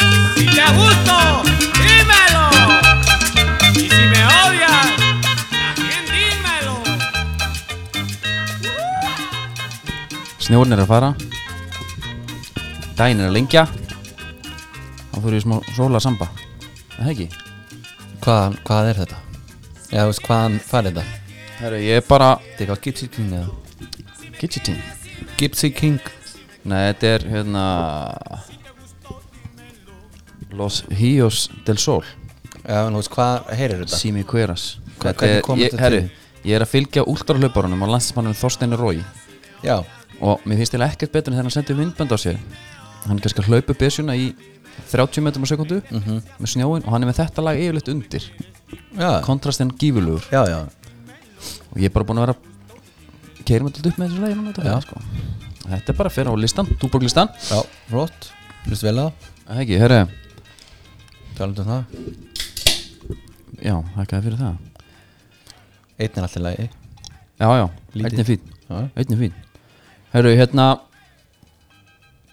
a gusto, dímelo. Y si me odias, también dímelo. Snjórn er að fara Dæin er að lengja Þá fyrir við smá sóla samba Er Það ekki? Hvað, hvað er þetta? Já, þú veist, hvaðan farið þetta? Herru, ég er bara Þetta er eitthvað Gypsy King eða? Gidgeting Gypsy King Nei, þetta er hérna Los Hios del Sol Já, en þú veist, hvað heyrir þetta? Simi Queras Hva- Þetta er- hvernig kom ég- þetta herru, til? Ég er að fylgja últralöparunum á landsmanum Þorsteinu Rói Já, og mér finnst þetta ekkert betur en þegar hann sendir myndbönd á sér hann er kannski að hlaupa besjuna í 30 metrum á sekundu Mhm. með snjóin og hann er með þetta lag yfirleitt undir já, kontrastinn gífurlugur já, já og ég er bara búin að vera keirum þetta upp með þessu lagi núna þetta Já. fyrir, sko. þetta er bara fyrir á listan, túborglistan Já, flott, hlust vel á það Það ekki, herru, Talandi um það já, þakkaði fyrir það Einn er alltaf lagi já, já, Lítið. einn er fín Já, einn er fín herru, hérna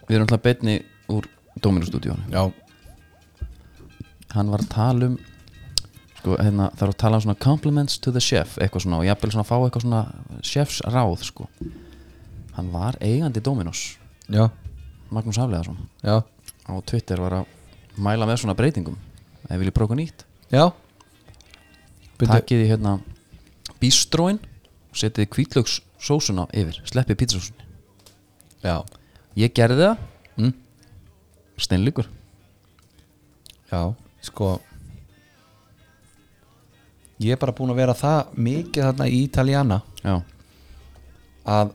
við erum alltaf betni úr Dominus stúdíónu já, hann var að tala um sko, hérna, það er að tala um svona compliments to the chef, eitthvað svona og jafnvel svona fá eitthvað svona chefs ráð sko. hann var eigandi Dominos já, Magnús Hafleðarsson já, á Twitter var að mæla með svona breytingum ef viljið prófa eitthvað nýtt já. Bíddu, takið í hérna bístróin og setið kvítlaugs sósuna yfir, sleppið pítsasósun Já, ég gerði það Mm. steinleikur já, sko Ég er bara búin að vera það mikið þarna í Italiana já, að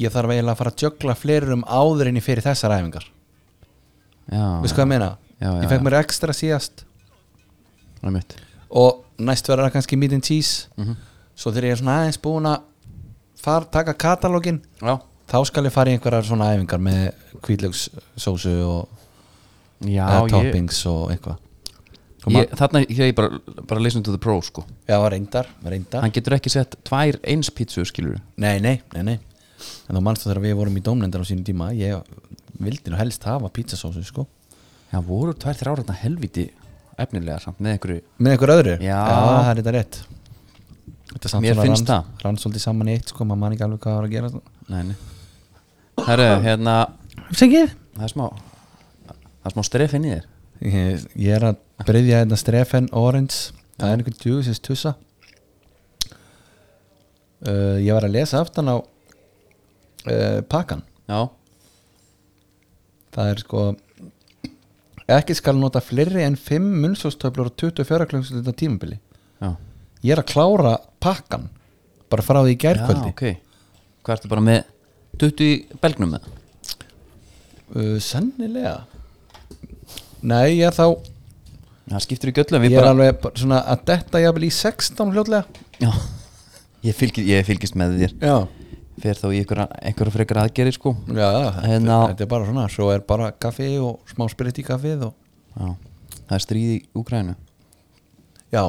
ég þarf eiginlega að fara að jökla fleirum áður inn í fyrir þessar æfingar já, Veistu hvað ég meina? Já, já, ég fekk já. mér ekstra síðast það er mitt og næst verður það kannski meat and cheese Mhm. svo þegar ég er svona aðeins búin að far, taka katalógin já, þá skal ég fara í einhverjar svona æfingar með kvíðlögssósu og já eða ég, toppings og eitthvað ég, þarna ég ég bara, bara listen to the pro sko Já, reyndar, reyndar hann getur ekki sett tvær eins pítsu skilur Nei, nei, nei, nei En þá manstu þegar við vorum í dómnendar á sínum tíma Ég vildi nú helst hafa pizzasósu, sko það voru tvær þrjár þarna helviti efnilega samt með einhverju Með einhver öðru? Já. það er þetta rétt Þetta samt Mér svona finnst rann, það. rann svolítið saman í eitt, sko Maður man ekki alveg hvað var að gera neini herru, hérna Sengið? það er smá það er smá stref inn í þér Ég, ég er að breyðja hérna strefen orange Það er einhver djúðisins tussa uh, Ég var að lesa aftan á uh, pakkan já, Það er sko ekki skal nota fleiri en 5 munnsóstöflur og 24 klukkustundir tímabili já, Ég er að klára pakkan bara frá því í já gærkvöldi ok hvað ertu bara með 20 í belgnum með uh, Sennilega Nei, ég er þá það skiptir í göllum ég ég, er bara, alveg bara svona að detta jafnvel í 16 hljótlega já, ég, fylgist, ég fylgist með þér Já, fer þá í einhverja, einhverja frekar aðgerið sko já þetta, Hérna. þetta er bara svona svo er bara kaffi og smá sprit í kaffið og... já, það er stríð í Úgrænu Já,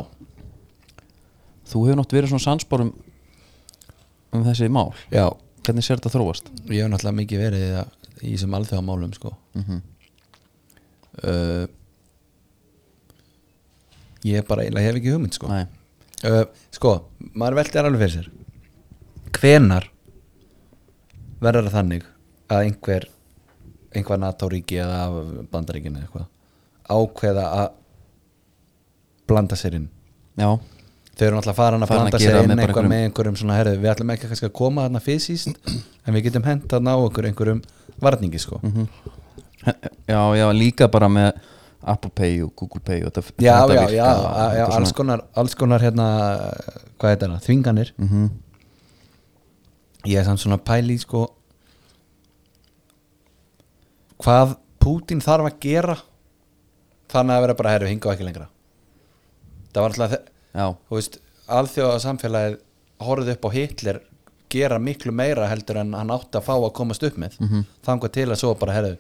þú hefur nátt verið svona sannspórum um þessi mál já hvernig sér þetta þróast Ég hef náttúrulega mikið verið í það- í þessum alþjóðamálum sko. uh, Ég er bara eiginlega hef ekki hugmynd sko. Nei. Uh, sko, maður veltir alveg fyrir sér Hvenar verður það þannig að einhver einhver NATO-ríki eða af bandaríkinu eða eitthvað ákveða að blanda sér inn já, Þau eru náttúrulega farin að Farin að blanda gera sér inn með bara eitthvað einhverjum- með einhverjum svona herðu Við ætlum ekki kannski að koma þarna fysiskt en við getum hent þarna á okkur einhverjum varningi sko Mhm. Já, já, líka bara með Apple Pay og Google Pay og þetta, Já, þetta já, virkar og já, já, já þetta alls konar, alls konar hérna, hvað heitir það, þvinganir Mhm. Ég er samt svona pæli sko hvað Putin þarf að gera þannig að vera bara herru hinga og ekki lengra Það var alltaf, þe- Já, þú veist, alþjóða samfélagið horfði upp á Hitler gera miklu meira heldur en hann átti að fá að komast upp með mm -hmm. til að svo bara herru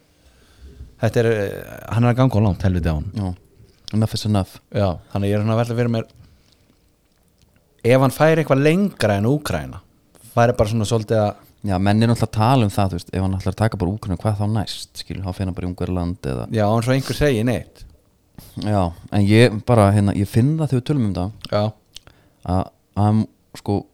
þetta er, eh, hann er að ganga á langt helviti á hann já, enough is enough Já, þannig að ég er svona að velta fyrir mér ef hann færi eitthvað lengra en Úkraina færi bara svona svolítið að Já, menn er náttúrulega að tala um það, þú veist ef hann ætlar að taka bara úkunum, hvað þá næst skilur, þá finna bara í ungar land eða já, hann svo einhver segi neitt já, en ég bara hérna, ég finn það þegar við tölum um það Já, að I'm sko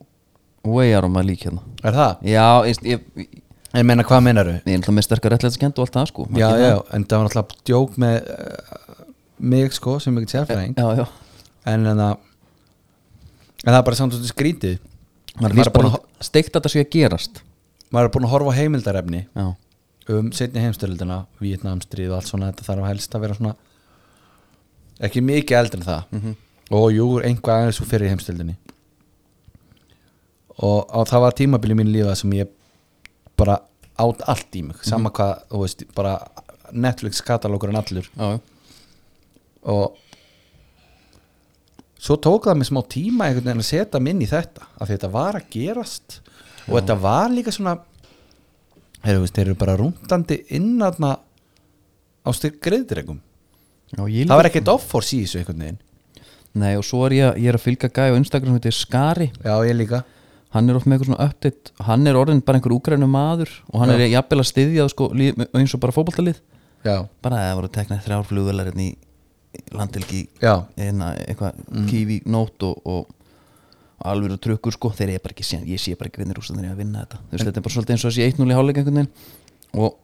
way out of my league hérna er það? já, ég, ég, ég, En meina hvað meinaru? ég er alltaf með sterkar réttlætiskennd og allt það sko Já, Maður já, gerir en það var náttúrulega djók með uh, mig sko sem ekki sérfræðing það. já, já en, en, að, en það er bara samt og þetta skrítið maður er Maður er víst búinn bara að ho- steikt að þetta sé að gerast maður er búin að horfa á heimildarefni já, um setni heimstyrildina, Vietnamstrið og allt svona, þetta þarf helst að vera svona ekki mikið eldri en það Mhm. og jú, einhvað aðeins úr fyrir heimstyrildinni og, og það var tímabili mín lífa sem ég bara átt allt í mig, sama Mhm. hvað, þú veist, bara Netflix katalókurinn allur já, já. og svo tók það mig smá tíma einhvern veginn að setja mig inn í þetta af því þetta var að gerast og þetta var líka svona heyrðu, veist, þeir eru bara rúndandi innarna á styrk greiðdregum já ég það var ekkert offors í þessu einhvern veginn Nei og svo er ég, ég er að fylga gæði á Instagram sem heitir Skari, já ég líka hann er oft með eitthvað svona update hann er orðin bara einhver úgrænu maður og hann Já. er jafnvel að styðja sko, líf, eins og bara fótballtalið já, bara að það voru teknað þrjár flugvelar hérna í landilgi já, hérna eitthvað mm. kífi nót og, og alveg trukkur sko þeir eru bara ekki síðan, ég sé bara ekki hvernig rústandir er að vinna þetta þú veist þetta er bara svolítið eins og þessi 1-0 í hálfleik einhvern veginn og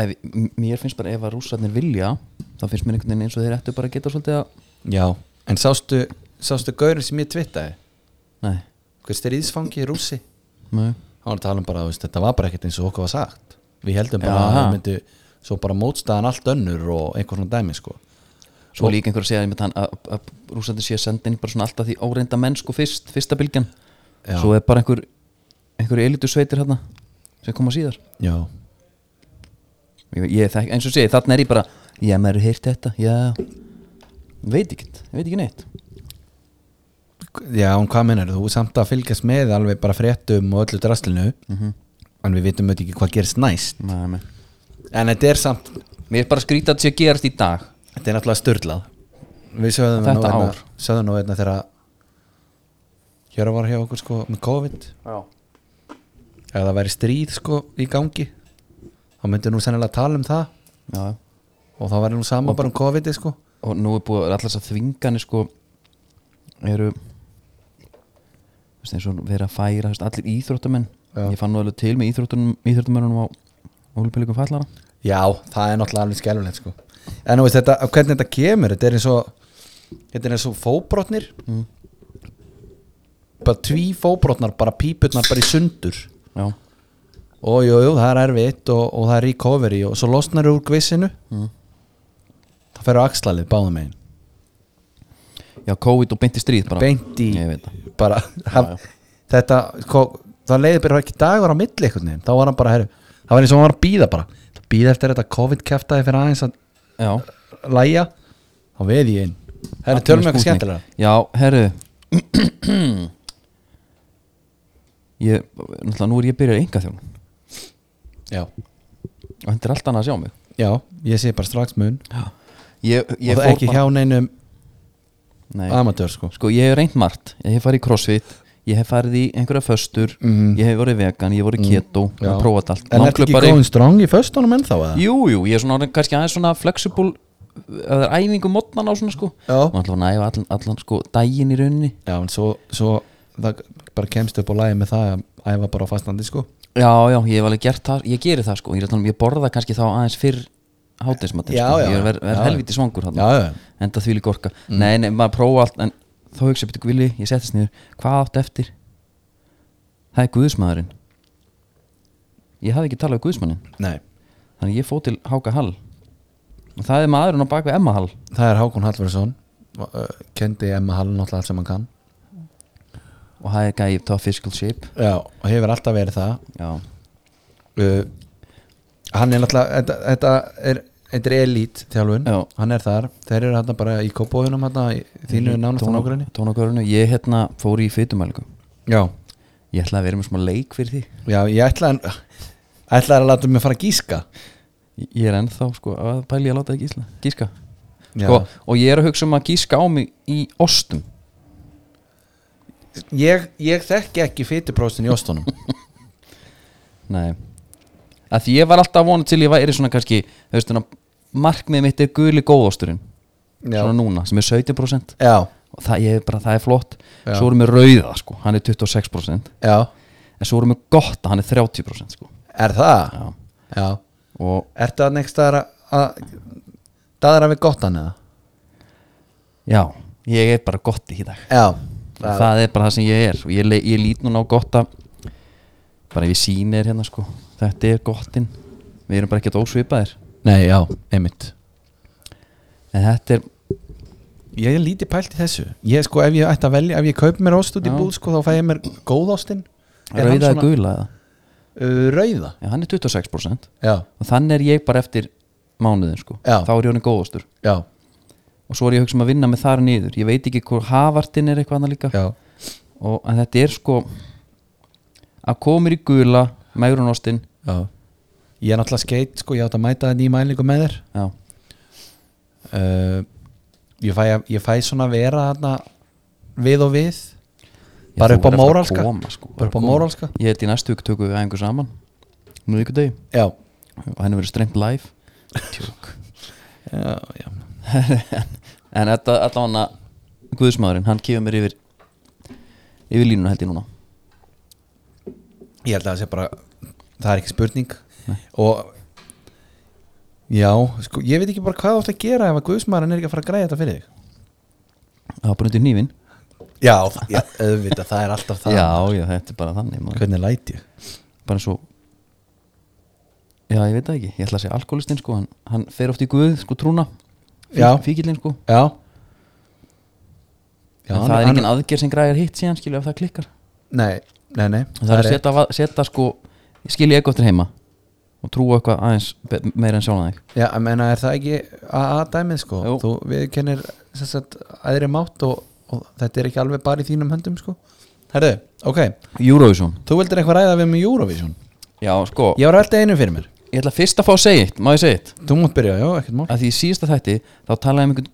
ef, m- mér finnst bara ef að rústandir vilja þá finnst mér einhvern veginn eins og þeir ættu bara að geta svolítið að, já en sástu, sástu gaurin sem ég twittaði nei, hver styríðsfangi í rússi nei hann var að tala um bara, þú veist, þetta var bara ekkert eins og okkur var sagt við heldum bara Já. að það myndi svo bara mótstaðan allt önnur og einhver svona dæmi sko Svo líka einhver að segja einmitt hann að, að rúsandi sé að senda inn bara svona alltaf því óreinda mennsku fyrst, fyrsta bylgjan Já. Svo er bara einhver einhver elitu sveitir hérna sem koma síðar já, ég, ég, þekki- eins og segi, þarna er ég bara já, maður hefur heyrt þetta, já veit ekkert, ég veit ekki neitt já, en hvað mennir þú samt að fylgjast með alveg bara fréttum og öllu draslinu Mhm. en við vitum auðvitað ekki hvað gerist næst Nei, nei. en þetta er samt, Mér er bara að skrýta að þetta sé að gerast í dag þetta er náttúrulega störlað við sögðum Þetta nú einna- ár. sögðum nú einna þegar hér var hjá okkur sko með COVID Já, ef það væri stríð sko í gangi þá myndi nú sennilega tala um það já og þá væri nú sama bara um COVID sko og nú er búið allar þess að þvingani sko eru þú veist, eins og vera að færa þú veist, allir íþróttamenn Já. ég fann nú alveg til með íþróttunum- íþróttamönnunum á ólupilíkum fallara Já, það er náttúrulega alveg skelfilegt sko. En þú veist þetta, hvernig þetta kemur Þetta er eins og Þetta er eins og fóbrotnir Mm. Bara tví fóbrotnar Bara pípurnar bara í sundur já, Og jú, jú, það er erfitt og, og það er recovery Og svo losnar þú úr gvissinu Mm. Það fer á axlalið báðum megin já, COVID og beint í stríð bara Beint í Ég veit það. bara, haf, Þetta, sko, það leiði bara ekki dagur á milli einhvern veginn Þá var hann bara, herru Það var eins og hann var að býða bara Býða eftir þetta COVID-kæftaði fyrir aðeins að já, læja þá veð ég inn Herri, tölum við eitthvað Spútnik. skemmtilega já, herru ég, náttúrulega nú er ég byrjað enga þjón já. og hendur allt annað að sjá mig já, ég sé bara strax mun ég, ég og það fór ekki bara- hjá neinum Nei. amatör sko sko ég hef reynt margt, ég hef farið í crossfit ég hef farið í einhverja föstur ég hef verið vegan, ég hef verið keto ég hef prófað allt, Mhm. En ertu ekki Langlaupari- góðin strong í föstunum ennþá eða? jú, jú, ég er svona orðinn kannski aðeins svona flexible að það er æfingu mótnan á svona sko Já. og alltaf að æfa allan, allan sko daginn í rauninni Já, en svo, svo það bara kemst upp á lægi með það að æfa bara á fastandi sko já, já, ég hef alveg gert það, ég geri það sko ég, er að tala um, ég borða kannski þá aðeins fyrr hátinsmatinn Já, sko, já, ég er, ver, já, er já. helviti svangur Já, já, enda því líka orka Mm. nei, nei, maður prófa allt en þá hugsa betur gvili, ég settist niður hvað átt eftir það er guðsmaðurinn ég hafði ekki talað við guðsmannin nei þannig að ég fó til Háka Hall og það er maðurinn á bak við Emma Hall Það er Hákon Hallverðsson kendi Emma Hall náttúrulega allt sem hann kann og það er gæði top physical shape Já, og hefur alltaf verið það já, uh, hann er náttúrulega þetta, þetta er Þetta er elít þjálfun, Já. hann er þar Þeir eru hérna bara í kópóðunum hérna í þínu nánast á nágrunni tónakörinu, ég hérna fór í fytumælingu Já, ég ætlaði að vera með smá leik fyrir því já, ég ætla að ætla að láta mig fara að gíska Ég- ég er ennþá sko að pæli að láta það gísla gíska Já. sko, og ég er að hugsa um að gíska á mig í ostum Ég, ég þekki ekki fytupróstin í ostunum Nei að Því ég var alltaf að vona til ég væri svona kannski þú veist, svona markmið mitt er guli góðasturinn Já. svona núna, sem er 70% já, og það, ég, er bara, það er flott Já. svo erum við rauða, sko, hann er 26% já, en svo erum við gotta, hann er 30% sko. er það? Já. já. og Ertu að neikst að, að daðra við gott hann eða? já, ég er bara gotti í dag Já, það, er bara það sem ég er og ég, le- ég lít núna á gotta bara ef ég sýni þér hérna sko þetta er gottin, við erum bara ekkert ósvipaðir Nei, já, einmitt en þetta er, Ég er lítið pælt í þessu Ég sko, ef ég ætti að velja, ef ég kaupi mér ost út í Já. búð sko, þá fæ ég mér góðostinn Er hann rauða er svona- gula eða Uh, Rauða já, hann er 26% Já, og þannig er ég bara eftir mánuðin sko Já. þá er ég honum góðastur já, og svo er ég að hugsa um að vinna með þar niður ég veit ekki hvort hafartinn er eitthvað annað líka já, og en þetta er sko að komir í gula megrunostinn já Ég er náttúrulega skeitt, sko, ég átt að mæta þetta í mælingu með þér já, uh, ég, fæ, að- ég fæ svona að vera þarna við og við Já, þú Bara upp verður á að fara að móralska koma, sko, Bara upp að á koma. móralska ég held í næstu hug tökum við æfingu saman nú ykkur degi Já, og henni verið strengt live tjók já, já en þetta allan að guðsmaðurinn hann kefur mér yfir yfir línuna held ég núna Ég held að það sé bara Það er ekki spurning Og Já, sko, ég veit ekki bara hvað þú átt að gera ef að guðsmaðurinn er ekki að fara að græja þetta fyrir þig það var bara undir nýfin Já, já auðvitað, það er alltaf það já, já, þetta er bara þannig maður. Hvernig læt ég? bara svo já, ég veit það ekki, ég ætla að segja alkoholistinn sko hann, hann fer oft í guð, sko trúna Já. fíkilinn sko Já en það er engin aðgerð sem græðir hitt síðan skilju ef það klikkar Nei, nei, nei það er að rétt. setja, va- setja sko skilja eitthvað til heima og trúa eitthvað aðeins be- meira en sjálfan þig Já, ég meina, er það ekki A-dæmið, sko Jú. Þú viðkennir, sem sagt, aðri mátt og, og þetta er ekki alveg bara í þínum höndum, sko Herðu, ok Eurovision Þú vildir eitthvað ræða við með Eurovision já, sko, Ég var alltaf einu fyrir mér ég ætla fyrst að fá að segja eitt má ég segja eitt Þú mátt byrja, já, ekkert mál að því í síðasta þætti þá talaði um einhvern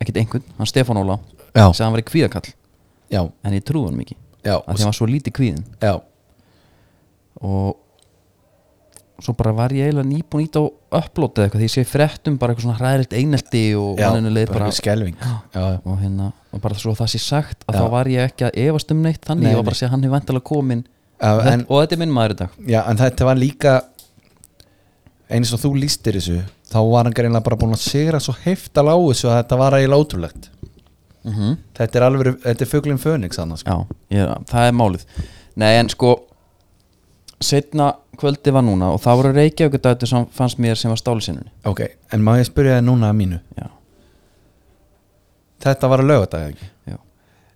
ekkert einhvern, hann Stefán Óla Já. sem hann var í kvíðakall Já, en ég trúði hann mikið já, að því hann var svo lítið kvíðin já, og svo bara var ég eiginlega nýbúin ít á upload eða eitthvað því ég sé í fréttum bara eitthvað svona hræðilegt einelti og manninu leið bara bara skelving Já, já, og hérna og bara svo það sé sagt að Já. þá var ég ekki að efast um neitt þannig Nei, ég var bara að segja að hann hefur vantilega komin Já, Þetta- en- og þetta er minn maður í dag Já, en þetta var líka eins og þú lístir þessu þá var hann greinlega bara búin að sigra svo heftal á þessu að þetta var eiginlega ótrúlegt mm Þetta er alveg, þetta er fuglinn Fönix annars sko. Já, ég, það er málið Nei, en sko setna kvöldi var núna og það voru Reykjavík dættu sem fannst mér sem var stálisinunni Ok, en má ég spyrja þið núna að mínu Já, Þetta var að laugardag eða ekki já,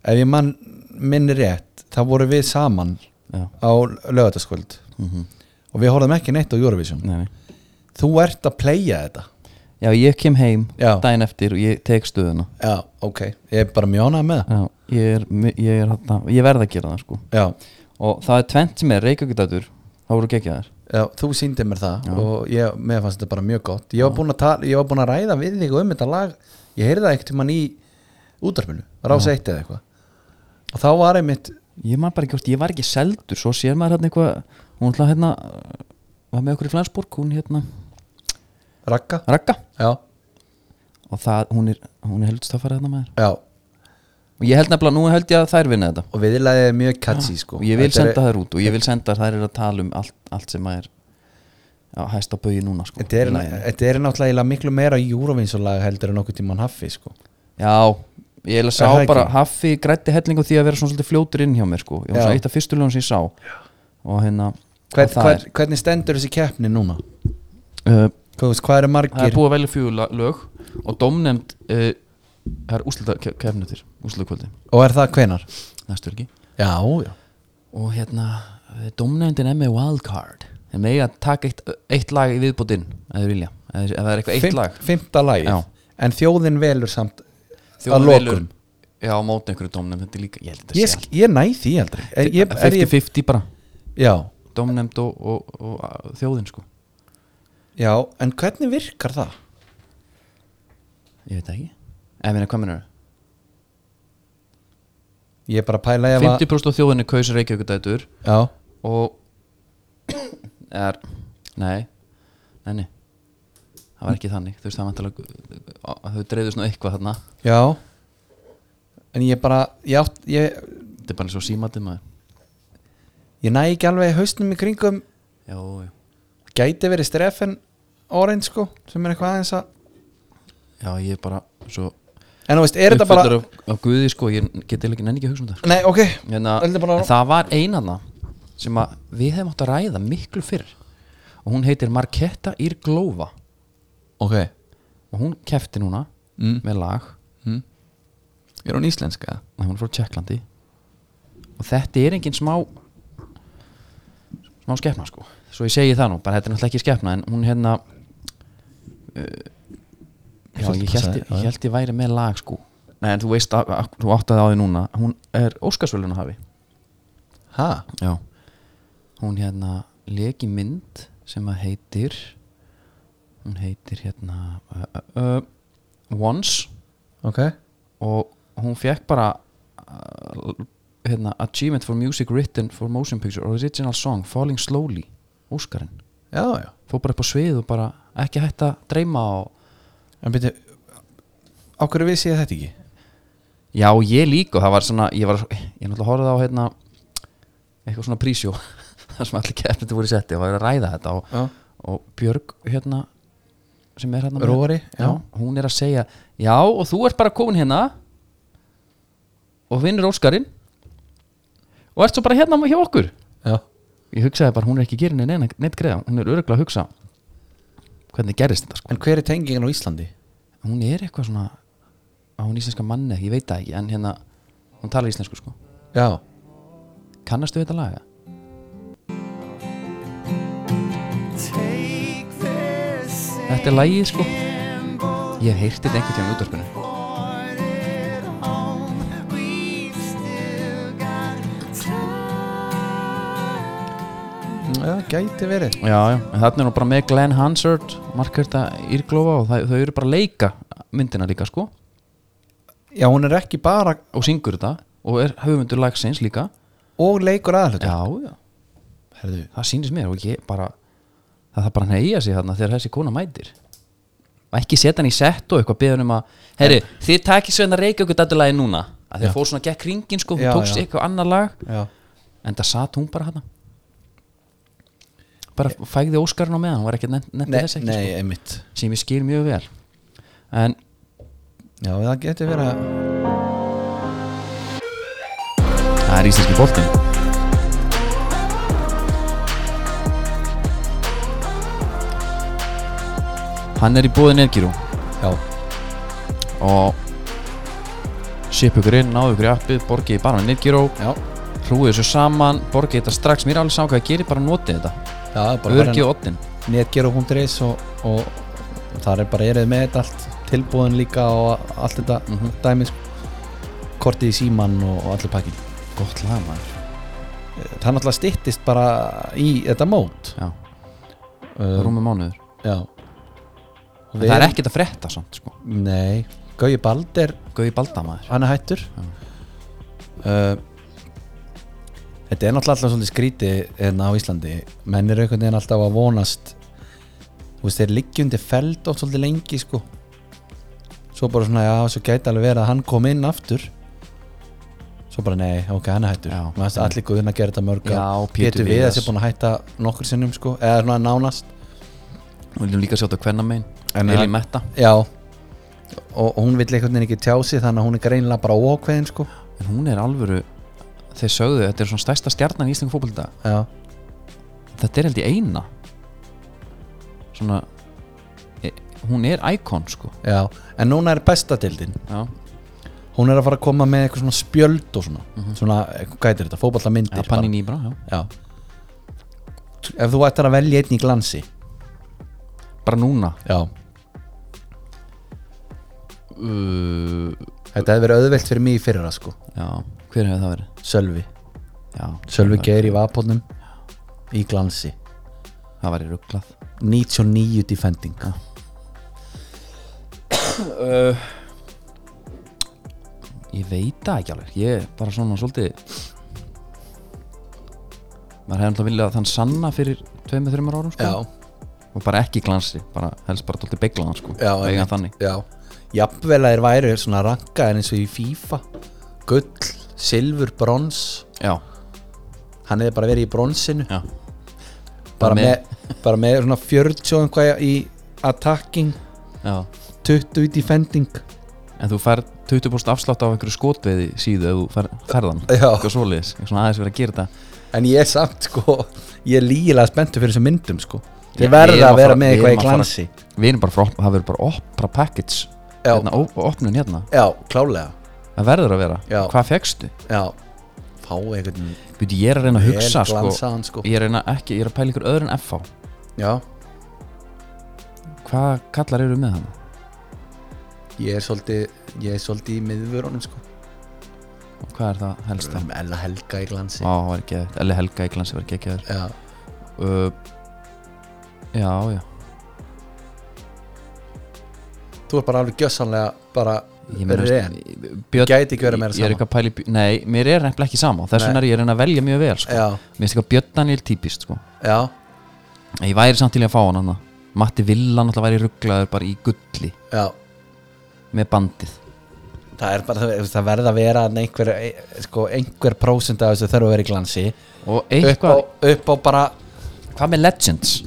Ef ég mann minni rétt, þá voru við saman já á laugardagskvöld mm og við horfðum ekki neitt á Eurovision nei, nei. Þú ert að playa þetta Já, ég kem heim Já. daginn eftir og ég tek stöðuna Já, ok, ég er bara mjónað með það Já, ég er, mi- ég er hana, ég verð að gera það sko Já, og það er tvent sem er Reykjavík dættur þá voru geggjaðar já þú síndið mér það og ég, mér fannst þetta bara mjög gott ég var, búinn að tala, ég var búin að ræða við þig um þetta lag ég heyrði það ekkert um hann í útarpinu, rása eitt eða eitthvað og þá var einmitt Ég man bara ekki hvort, ég var ekki seldur svo sér maður hérna eitthvað hún ætla hérna var með okkur í Flensborg, hún hérna Ragga Ragga Já, og það, hún er, hún er heldur staffar hérna maður já, og ég held nefnilega, nú held ég að þær vinna þetta og viðlaðið er mjög catchy sko og ég vil Þetta er- senda þær út og ég vil senda þær, þær eru að tala um allt, allt sem maður á hæsta bauði núna sko Þetta er, í laginu. þetta er náttúrulega eiginlega miklu meira Eurovinsolag heldur en okkur tímann haffi sko Já, ég eiginlega Er það sá ekki? bara Haffi grætti hellingu því að vera svona svolítið fljótur inn hjá mér sko ég var Já. svona eitt af fyrstu lögum sem ég sá og hérna, Hvern, og það hvern, Hvernig stendur þessi keppni núna? er uh, Hvað, veist, hvað eru Það er margir? búið að velja fjögur la- lög og dómnefnd uh, það er úslita kefnutir, úslita kvöldi Og er það hvenar? næstu helgi Já, já og hérna, eh, dómnefndin er með wildcard þeir mega að taka eitt, eitt lag í viðbútin ef þeir vilja, ef þeir- ef það er eitthvað eitt Fimt- lag Fimmta lagið Já. En þjóðin velur samt að Þjóðin lokum velur- Já, á móti einhverju dómnefnd, þetta er líka, ég held þetta Ég, sé sk- ég næ því aldrei er, ég, allt. er ég, 50-50 bara, já, dómnefnd og, og, og, og þjóðin sko já, en hvernig virkar það? Ég veit það ekki, ef minna hvað minnur Ég er bara að pæla ef að 50% af þjóðinni kaus reykjaukudætur Já, og er, nei, nei, nei það var ekki þannig þú veist það vantilega þau dreifðust nú eitthvað þarna Já En ég bara, ég, átt, ég, þetta er bara eins og símatið maður ég næ ekki alveg hausnum í kringum já, já, Gæti verið strefen Orange sko, sem er eitthvað aðeins að já, ég er bara svo En þú veist, er þetta bara uppfullur af, af guði sko, ég get eiginlega ekki nenni ekki að hugsa um það sko. Nei, ok, en, að, Þetta er bara- en það var einanna sem að við hefum átt að ræða miklu fyrr og hún heitir Marketta Irglova ok og hún kefti núna mm. með lag Mm. Er hún íslenska? Nei, hún er frá Tjekklandi og þetta er engin smá smá skepna sko svo ég segi það nú, bara þetta er náttúrulega ekki skepna en hún hérna uh, já, Fullt ég held passaði, já, já. ég, held ég væri með lag sko nei, en þú veist, að, að, þú áttaði á því núna hún er Óskarsvölinu hafi Ha? já. hún hérna leki mynd sem að heitir hún heitir hérna uh, uh, uh, Once Ok og hún fekk bara uh, hérna, Achievement for Music Written for Motion Picture Original Song Falling Slowly Óskarinn Já, já fór bara upp á svið og bara ekki hægt að dreyma og En byrju, á hverju vissi ég þetta ekki? já ég líka það var svona ég var ég náttúrulega horfði á hérna eitthvað svona prísjó þar sem allir keppnandi voru í setti og var að ræða þetta og, Já og Björg hérna sem er hérna með- Róari, já. já, hún er að segja já og þú ert bara komin hérna og vinnur Óskarinn og ert svo bara hérna hjá okkur Já ég hugsaði bara hún er ekki gerin neina neitt greiða, hún er öruglega að hugsa hvernig gerist þetta sko En hver er tengingin á Íslandi? hún er eitthvað svona á hún íslenska manni, ég veit það ekki en hérna, hún talar íslensku sko Já kannastu við þetta laga? Þetta er lagið sko Ég hef heyrt þetta einhvern tíðan útvarpinu Já, gæti verið Já, já, en þarna er hún bara með Glenn Hansard Markverta Írglófa og það, þau eru bara að leika myndina líka sko Já, hún er ekki bara og syngur þetta og er höfundur lagsins líka og leikur aðhlutur Já, já, Herðu, það sýnist mér og ég bara það þarf bara að neyja sig þarna þegar þessi kona mætir og ekki setja hann í sett og eitthvað beðan um að, herri, þið takir sveina reykja okkur dattulagi núna, að Já. þið fór svona gekk ringin sko, hún Já, tókst já. eitthvað annar lag já en það satt hún bara hann bara fægði Óskarinn á meðan hún var ekki nefndi Nei, þess ekki nei, einmitt sko, sem ég skil mjög vel en Já, það getur verið að það er íslenski boltin hann er í bóðin Ergirú Já, og ship ykkur inn, náðu ykkur í appið borgið í barman Nidgyró, já hrúið þessu saman borgið þetta strax, mér er alveg saman hvað það gerir bara notið þetta, Já, bara örgið og oddin netgero.is og, og, og þar er bara erið með þetta allt tilbúðin líka og allt þetta mm Mhm. -hmm. dæmis kortið í símann og, og allir pakkin gott lag maður Það náttúrulega styttist bara í þetta mót já, um, rúmum mánuður, Já en það er ekkert að frétta samt sko, Nei, Gauji Bald er gauði balda maður hann er hættur uh, Þetta er náttúrulega alltaf svolítið skríti hérna á Íslandi menn eru einhvern veginn alltaf að vonast þú veist, þeir liggja undir feld oft svolítið lengi sko svo bara svona, já, svo gæti alveg verið að hann kom inn aftur svo bara, nei, ok, hann er hættur Já. Mér fannst allir guðin að gera þetta mörg Já, ár. Pétur Pétur Viðas Viðars. er búin að hætta nokkur sinnum sko, eða svona nánast við viljum líka sjá þetta hvenna megin, En Elí hann- Metta já, og, og hún vill einhvern veginn ekki tjá sig þannig að hún er greinlega bara ókveðin sko en hún er alvöru, þeir sögðu þetta er svona stærsta stjarnan í Íslingu fótbolta já, þetta er held ég eina svona e, hún er íkon sko já, en núna er bestadildin já, hún er að fara að koma með eitthvað svona spjöld og svona, svona hvað heitir þetta, ja, fótballamyndir pannin í Mhm. já já. ef þú ættir að velja einn í glansi bara núna já, uh, þetta hefði verið auðvelt fyrir mig í fyrra sko, já, hver hefur það verið Sölvi já, Sölvi Geir í Vapotnum í glansi, það væri rugglað 99 defending ég veit það ekki alveg ég er bara svona svolítið maður hefði alltaf viljað að þann sanna fyrir tveimur, þreimur árum sko. já, og bara ekki glansi, bara helst bara tólti beiglaðan sko, já, eiga einmitt, þannig já. jafnvel að þeir væri svona rankaðir eins og í FIFA gull, silfur, brons já, hann hefði bara verið í bronsinu já, bara Bara með, bara með svona 40 og einhvað í attacking já 20 í defending en þú fær 20% afslátt á einhverju skotveði síðu ef þú fer, ferðan Já. eitthvað svoleiðis, eitthvað svona aðeins verið að gera þetta en ég er samt sko ég er lígilega spenntur fyrir þessum myndum sko Ég- ég við verða erum að að vera fara- með við erum eitthvað í að fara- glansi við erum bara frá, það verður bara opra package Já. hérna, op, opnun hérna, já, klálega það verður að vera Já. hvað fegstu? já, fá einhvern Býtu, ég er að reyna að vel hugsa sko, glansaðan sko ég er að reyna ekki, ég er að pæla ykkur öðru en FH já, hvað kallar eru með hann? ég er svolítið ég er svolítið í miðvörunum sko og hvað er það helst það? Ella Helga í glansi Vá, það var ekki, Elli Helga í glansi var ekki ekki þér já, uh, já, já, þú er bara alveg gjössanlega bara ég meina sko, ren Björn, Gæti ekki verið meira ég er sama. ekki að pæla í Björn- nei, mér er nefnilega ekki sama þess Nei. vegna er ég að reyna að velja mjög vel sko. já, mér finnst eitthvað Björn Daniel típist sko. já, En Ég væri samt til í að fá hann hann Matti Villan alltaf væri rugglaður bara í gulli já með bandið það er bara, þú veist, það verða að vera þarna einhver, eh, sko, einhver prósent af þessu þarf að vera í glansi og upp á, eitthvað, upp á bara hvað með Legends?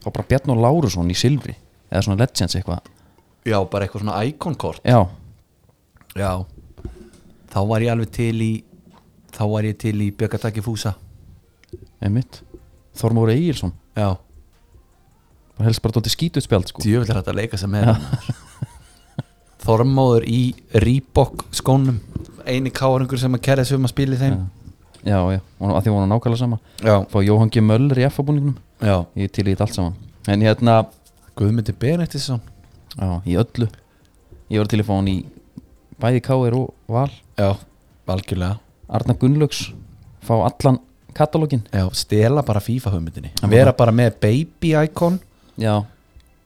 Þá bara Bjarn og Lárusson í Silfri eða svona Legends eitthvað já, bara eitthvað svona íkonkort Já, já, þá var ég alveg til í þá var ég til í Bjöggataki Fúsa einmitt Þormór Egilson, já, bara helst bara tótti skítut spjald sko djöfull er þetta að leika sem er Þormóður í Reebok skónum eini káringur sem að kæra sem að spila í þeim Já, já, og að því voru nákvæmlega sama já, Fá Jóhann G. Möller í F-búningnum já. Ég er til í þetta allt saman En hérna, Guðmundur Benediktsson já, í öllu Ég var til í að fá hann í bæði K.R. og Val já, algjörlega Arna Gunnlaugs, fá allan katalógin já, stela bara FIFA hugmyndinni Já, vera bara með baby icon Já,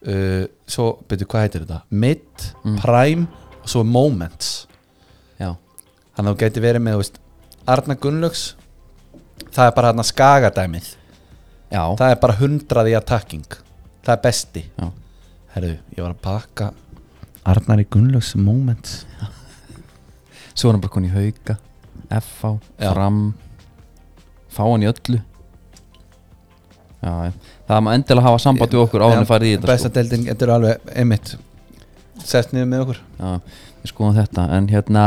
uh, svo, betur hvað heitir þetta mid, Mm. prime og svo moments já, þannig að þú gæti verið með, þú veist Arna Gunnlaugs það er bara hérna skagadæmið já það er bara 100 í attacking það er besti Já. herru, ég var að pakka Arnari Gunnlaugs moments Svo er hann bara konið í hauka FH, Já. fram Fá hann í öllu Já, já. það má endilega hafa samband við okkur áður en farið í þetta sko. besta deildin, þetta er alveg einmitt sett niður með okkur sko. Já, við skoðum þetta En hérna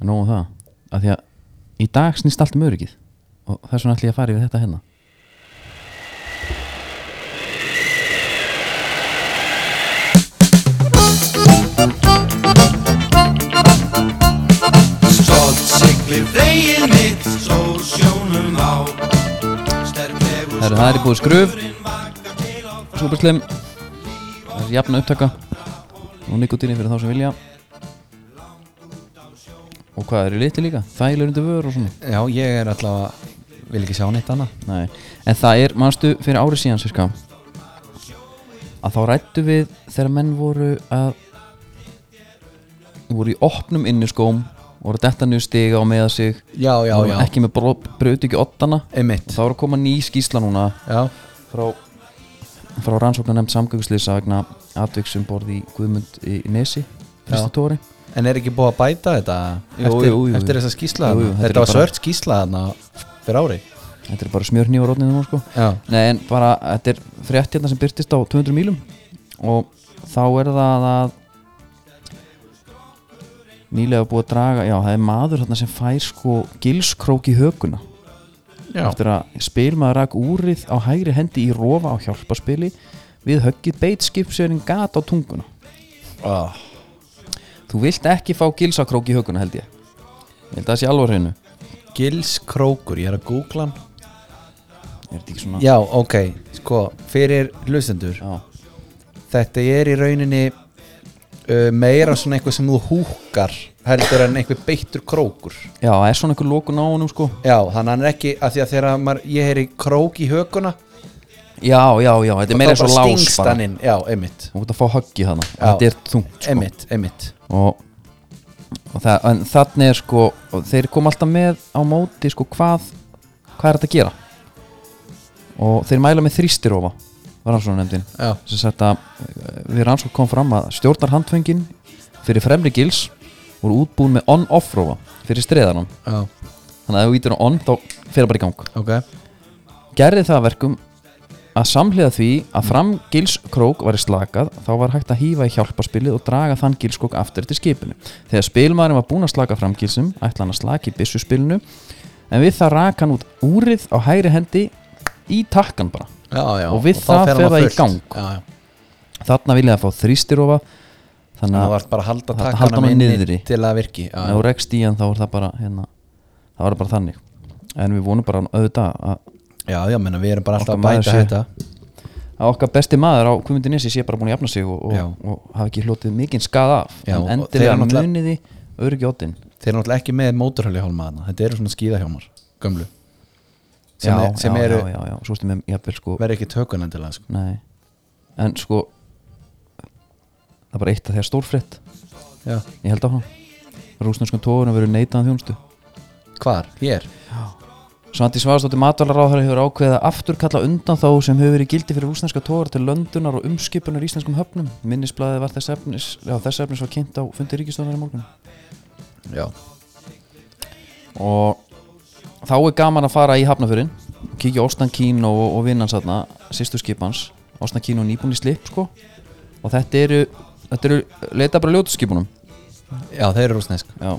Nóum um það að Því að í dag snýst allt um öryggið Og þess vegna ætla ég að fara yfir þetta hérna Stolt siglir veginn mitt, svo sjónum á Sterklegur Herru, það er í búið skröf vakar til á Súperslim Það er jafna upptaka Og nikotinni fyrir þá sem vilja Og hvað er í liti líka? Þægilegur undir vör og svona já, ég er allavega vil ekki sjá neitt annað Nei. En það er, manstu, fyrir ári síðan sirka, að þá rættu við þegar menn voru að voru í opnum inniskóm voru að detta niður stiga og meða sig já, já, voru já, ekki með bröti ekki oddana og einmitt þá er að koma ný skýsla núna já, frá, frá rannsóknar nefnd samgöngslýsa vegna atviksum borði í Guðmund í Nesi fristatóri En er ekki búið að bæta þetta Jú, eftir, jú, jú. eftir þessa Jú, skýsla jú, þarna? þetta er Þetta var bara- svört skýsla þarna fyrir ári þetta er bara smjörnývar rótnið nú sko Já, Nei, en bara, þetta er frétt hérna sem byrtist á 200 mílum og þá er það að nýlega búið að draga, já, það er maður þarna sem fær sko gilskrók í hökuna já, eftir að spilmaður rak úrið á hægri hendi í rofa á hjálpaspili við höggið beit skipsverðin gat á tunguna Ah, Þú vilt ekki fá gilsakrók í hökuna held ég Ég held að það sé alvar hreinu Gils Krókur, ég er að googla hann Er þetta ekki svona Já, ok, sko, fyrir hlustendur Já, Þetta er í rauninni uh, meira svona eitthvað sem þú húkar heldur en einhver beittur krókur Já, það er svona einhver lokun á honum sko Já, þannig að hann er ekki að því að þegar maður, ég heyri krók í hökuna Já, já, já, þetta er meira svo lás bara inn, Já, einmitt, Þú ert að fá höggi hana Já. Þetta er þungt sko. einmitt, einmitt og, og það, en þannig er sko og Þeir kom alltaf með á móti sko hvað Hvað er þetta að gera og þeir mæla með þrýstirofa rannsóknarnefndin Já. sem sagt að eh, við rannsókn kom fram að stjórnarhandföngin fyrir fremri gils voru útbúin með on-off rofa fyrir streðanum Já, þannig að ef þú ítir á on þá fyrir bara í gang ok gerði það að verkum að samhliða því að fram gilskrók væri slakað þá var hægt að hýfa í hjálparspilið og draga þann gilskrók aftur til skipinu þegar spilmaðurinn var búinn að slaka fram gilsum ætla hann að slaki í byssuspilinu en við það rak hann út úrið á hægri hendi í takkan bara Já, já Og við þá það fer hann fer á það í fullt. gang. Já, já þarna vilja það fá þrýstirofa þannig Það að var bara að halda Halda- halda takkana honum minni niðri. til að virki Já, ef þú rekst í hann þá er það bara hérna, það var bara þannig en við vonum bara auðvitað að já, já menna, við erum bara alltaf að Okkar maður bæta sé- þetta að okkar besti maður á Kvimindi Nesi sé bara búin að jafna sig og, Já. og, og hafa ekki hlotið mikinn skað af Já, en og þeir endilega eru náttúrulega- muniði örgjótin Þeir eru náttúrulega ekki með mótorhjóli hjálma þarna Þetta eru svona skíðahjálmar, gömlu Sem, er, sem já, eru, já, já, já, svo stum við jafnvel sko verður ekki tökun endilega sko. nei, en sko það er bara eitt að þegar stórfrétt Já. ég held á hann rúsnarskun tóðurinn verið neitaðan um þjónustu Hvar? Hér? Svandi Svavarsdóttir matvælaráðherra hefur ákveðið að afturkalla undan þá sem hefur verið gildi fyrir rúsnarska tóra til löndunar og umskipunar í íslenskum höfnum. Minnisblæðið var þess efnis, já, þess efnis var kynnt á fundi ríkistóðanar í morgun. Já, og þá er gaman að fara í Hafnafjörðin kíkja á Óstan Kín og, og vinnans þarna, sýstu skipans Óstan Kín og nýbúin í slip sko. og þetta eru, þetta eru leita bara ljótu skipunum já þeir eru rúsnesk Já.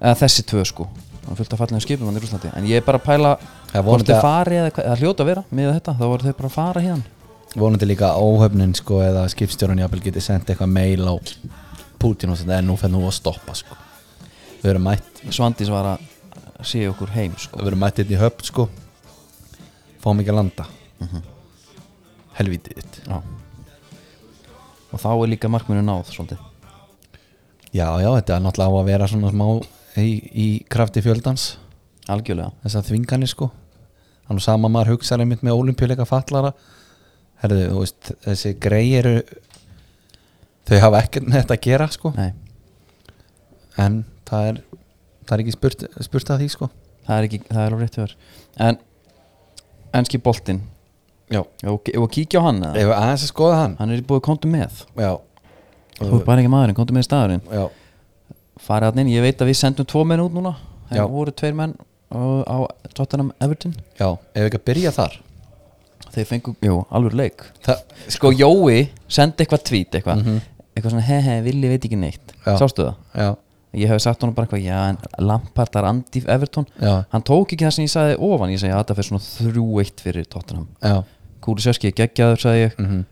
eða þessi tvö sko það er fullt að falla um skipum hann í Rúslandi en ég er bara að pæla Það er hvort vonandi þeir að- fari eða, hvað- eða hljóta að vera með þetta, þá voru þeir bara að fara hérna Vonandi líka óhöfnin sko eða skipstjórun jafnvel getið sendt eitthvað mail á Putin og þetta en nú fyrir nú að stoppa sko Við erum mætt, Svandís var að sé okkur heim sko. við erum mætt hérna í höfn sko Fáum ekki að landa Mhm. Helvítið þitt Já. og þá er líka markminu náð svolítið Já, já, þetta er náttúrulega á að vera svona smá í, í krafti fjöldans algjörlega þessar þvinganir sko þannig sama maður hugsaði mitt með olimpíuleika fallara herðu, þú veist, þessi grei eru þau hafa ekkert með þetta að gera sko Nei. en það er það er ekki spurt, spurt að því sko það er ekki, það er alveg rétt hjá þér en, enski boltinn já, Já, og, og kíkja á hann eða? ef við aðeins að skoða hann hann er búið kontum með já, þú er bara ekki maðurinn, kontum með í staðurinn já, farið hann inn, ég veit að við sendum tvo menn út núna það Já. voru tveir menn á, á Tottenham Everton já ef við ekki að byrja þar þeir fengu, jú, alveg leik það, sko Jói sendi eitthvað tweet eitthvað eitthvað svona, he he, villi veit ekki neitt Mhm. Já. sástu það? já, Ég hef sagt honum bara eitthvað, já, en Lampard er andif Everton Já. hann tók ekki það sem ég sagði ofan ég segi að þetta fyrir svona 3-1 fyrir Tottenham já, Kúlisjöski er geggjaður, sagði ég Mhm.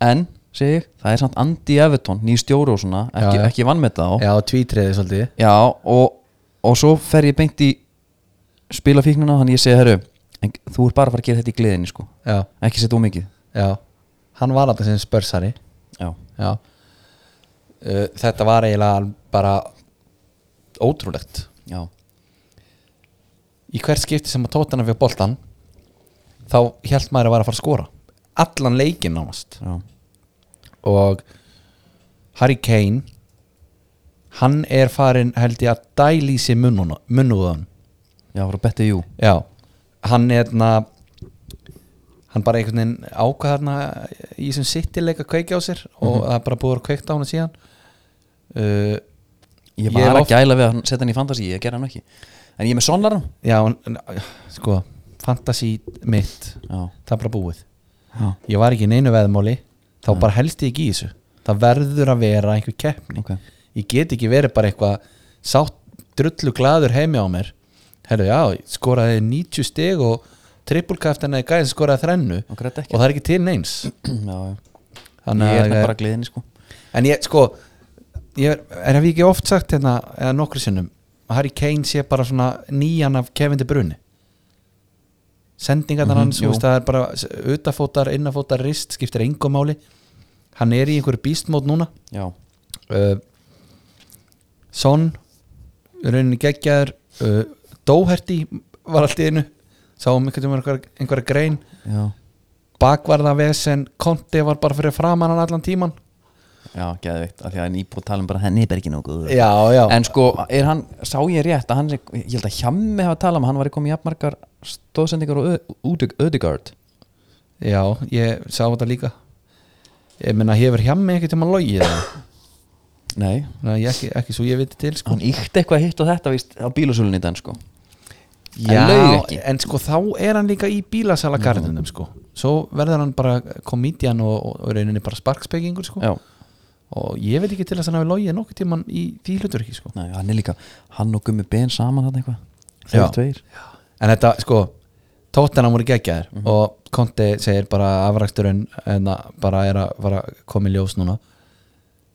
En, segi ég, það er samt Andy Everton, nýr stjóru og svona ekki, Já, já. ekki vann með það á já, tvítriði svolítið Já, og, og svo fer ég beint í spilafíknuna þannig ég segi, herru, en, þú ert bara að fara að gera þetta í gleðinni sko, já, ekki setja ómikið já, hann var alltaf sem spörsari Já, já uh, þetta var eiginlega bara ótrúlegt já, í hvert skipti sem að tótana fyrir boltan þá held maður að vera að fara að skora allan leikinn nánast já, og Harry Kane hann er farin held ég að dæli sér munnúðan já, voru bettið jú já, hann er þarna hann bara einhvern veginn ákvaðarna í þessum sittileik að kveikja á sér og það er bara búið að vera kveikt á hann síðan uh, Ég Ég var hef að oft- gæla við að hann- setja hann í fantasy, ég gerði hann ekki En ég er með sonlaran Já, en- en, sko Fantasí mitt Já, Það er bara búið já, Ég var ekki í neinu veðmáli Þá bara helst ég ekki í þessu Það verður að vera einhver keppni ok Ég get ekki verið bara eitthvað Sátt drullu glaður heimi á mér Herru, já, skoraði 90 stig Og trippulkaftan eða gæðin skoraði þrennu Og græddi ekki. Og það er ekki til neins Já, já, Þannig ég er með að- bara gleðinni sko En ég, sko ég er, er hef ég ekki oft sagt hérna eða nokkru sinnum að Harry Kane sé bara svona nýjan af Kevin De Bruyne sendingarnar hans, þú jú. veist, það er bara utafótar, innafótar, rist, skiptir engum máli hann er í einhverju bístmót núna Já, uh, Son rauninni geggjaður uh, Dóherti var allt í einu sáum einhverjum einhverja einhver grein já, bakvarða vesen, Conte var bara fyrir framan hann allan tíman já, geðveikt af Því að hann íbúið tala um bara henni er ekki nógu góður. já, já, En sko, er hann, sá ég rétt að hann, er- ég held að Hjammi hafa talað um að hann var komið jafnmargar stóðsendingar og Ödegard Já, ég sá þetta líka Ég meina, hefur hjá mig ekkert um að logið það Nei, Nei, ég ekki, ekki svo ég viti til sko. hann íkt eitthvað hitt og þetta víst á bílasölun í den sko Já, laug ekki. en sko þá er hann líka í bílasalagarðinum sko. Svo verður hann bara komedian og, og, og rauninni bara sparkspekingur sko. Já, Og ég veit ekki til þess að hann hafi logið nokkuð tímann í því hlutur ekki sko. Nei, hann er líka, hann og Gummi Ben saman hann eitthvað Já. Þeir tveir En þetta, sko, tóttina voru geggjaðir Mhm. og Konti segir bara afraksturinn en að bara er að fara að koma í ljós núna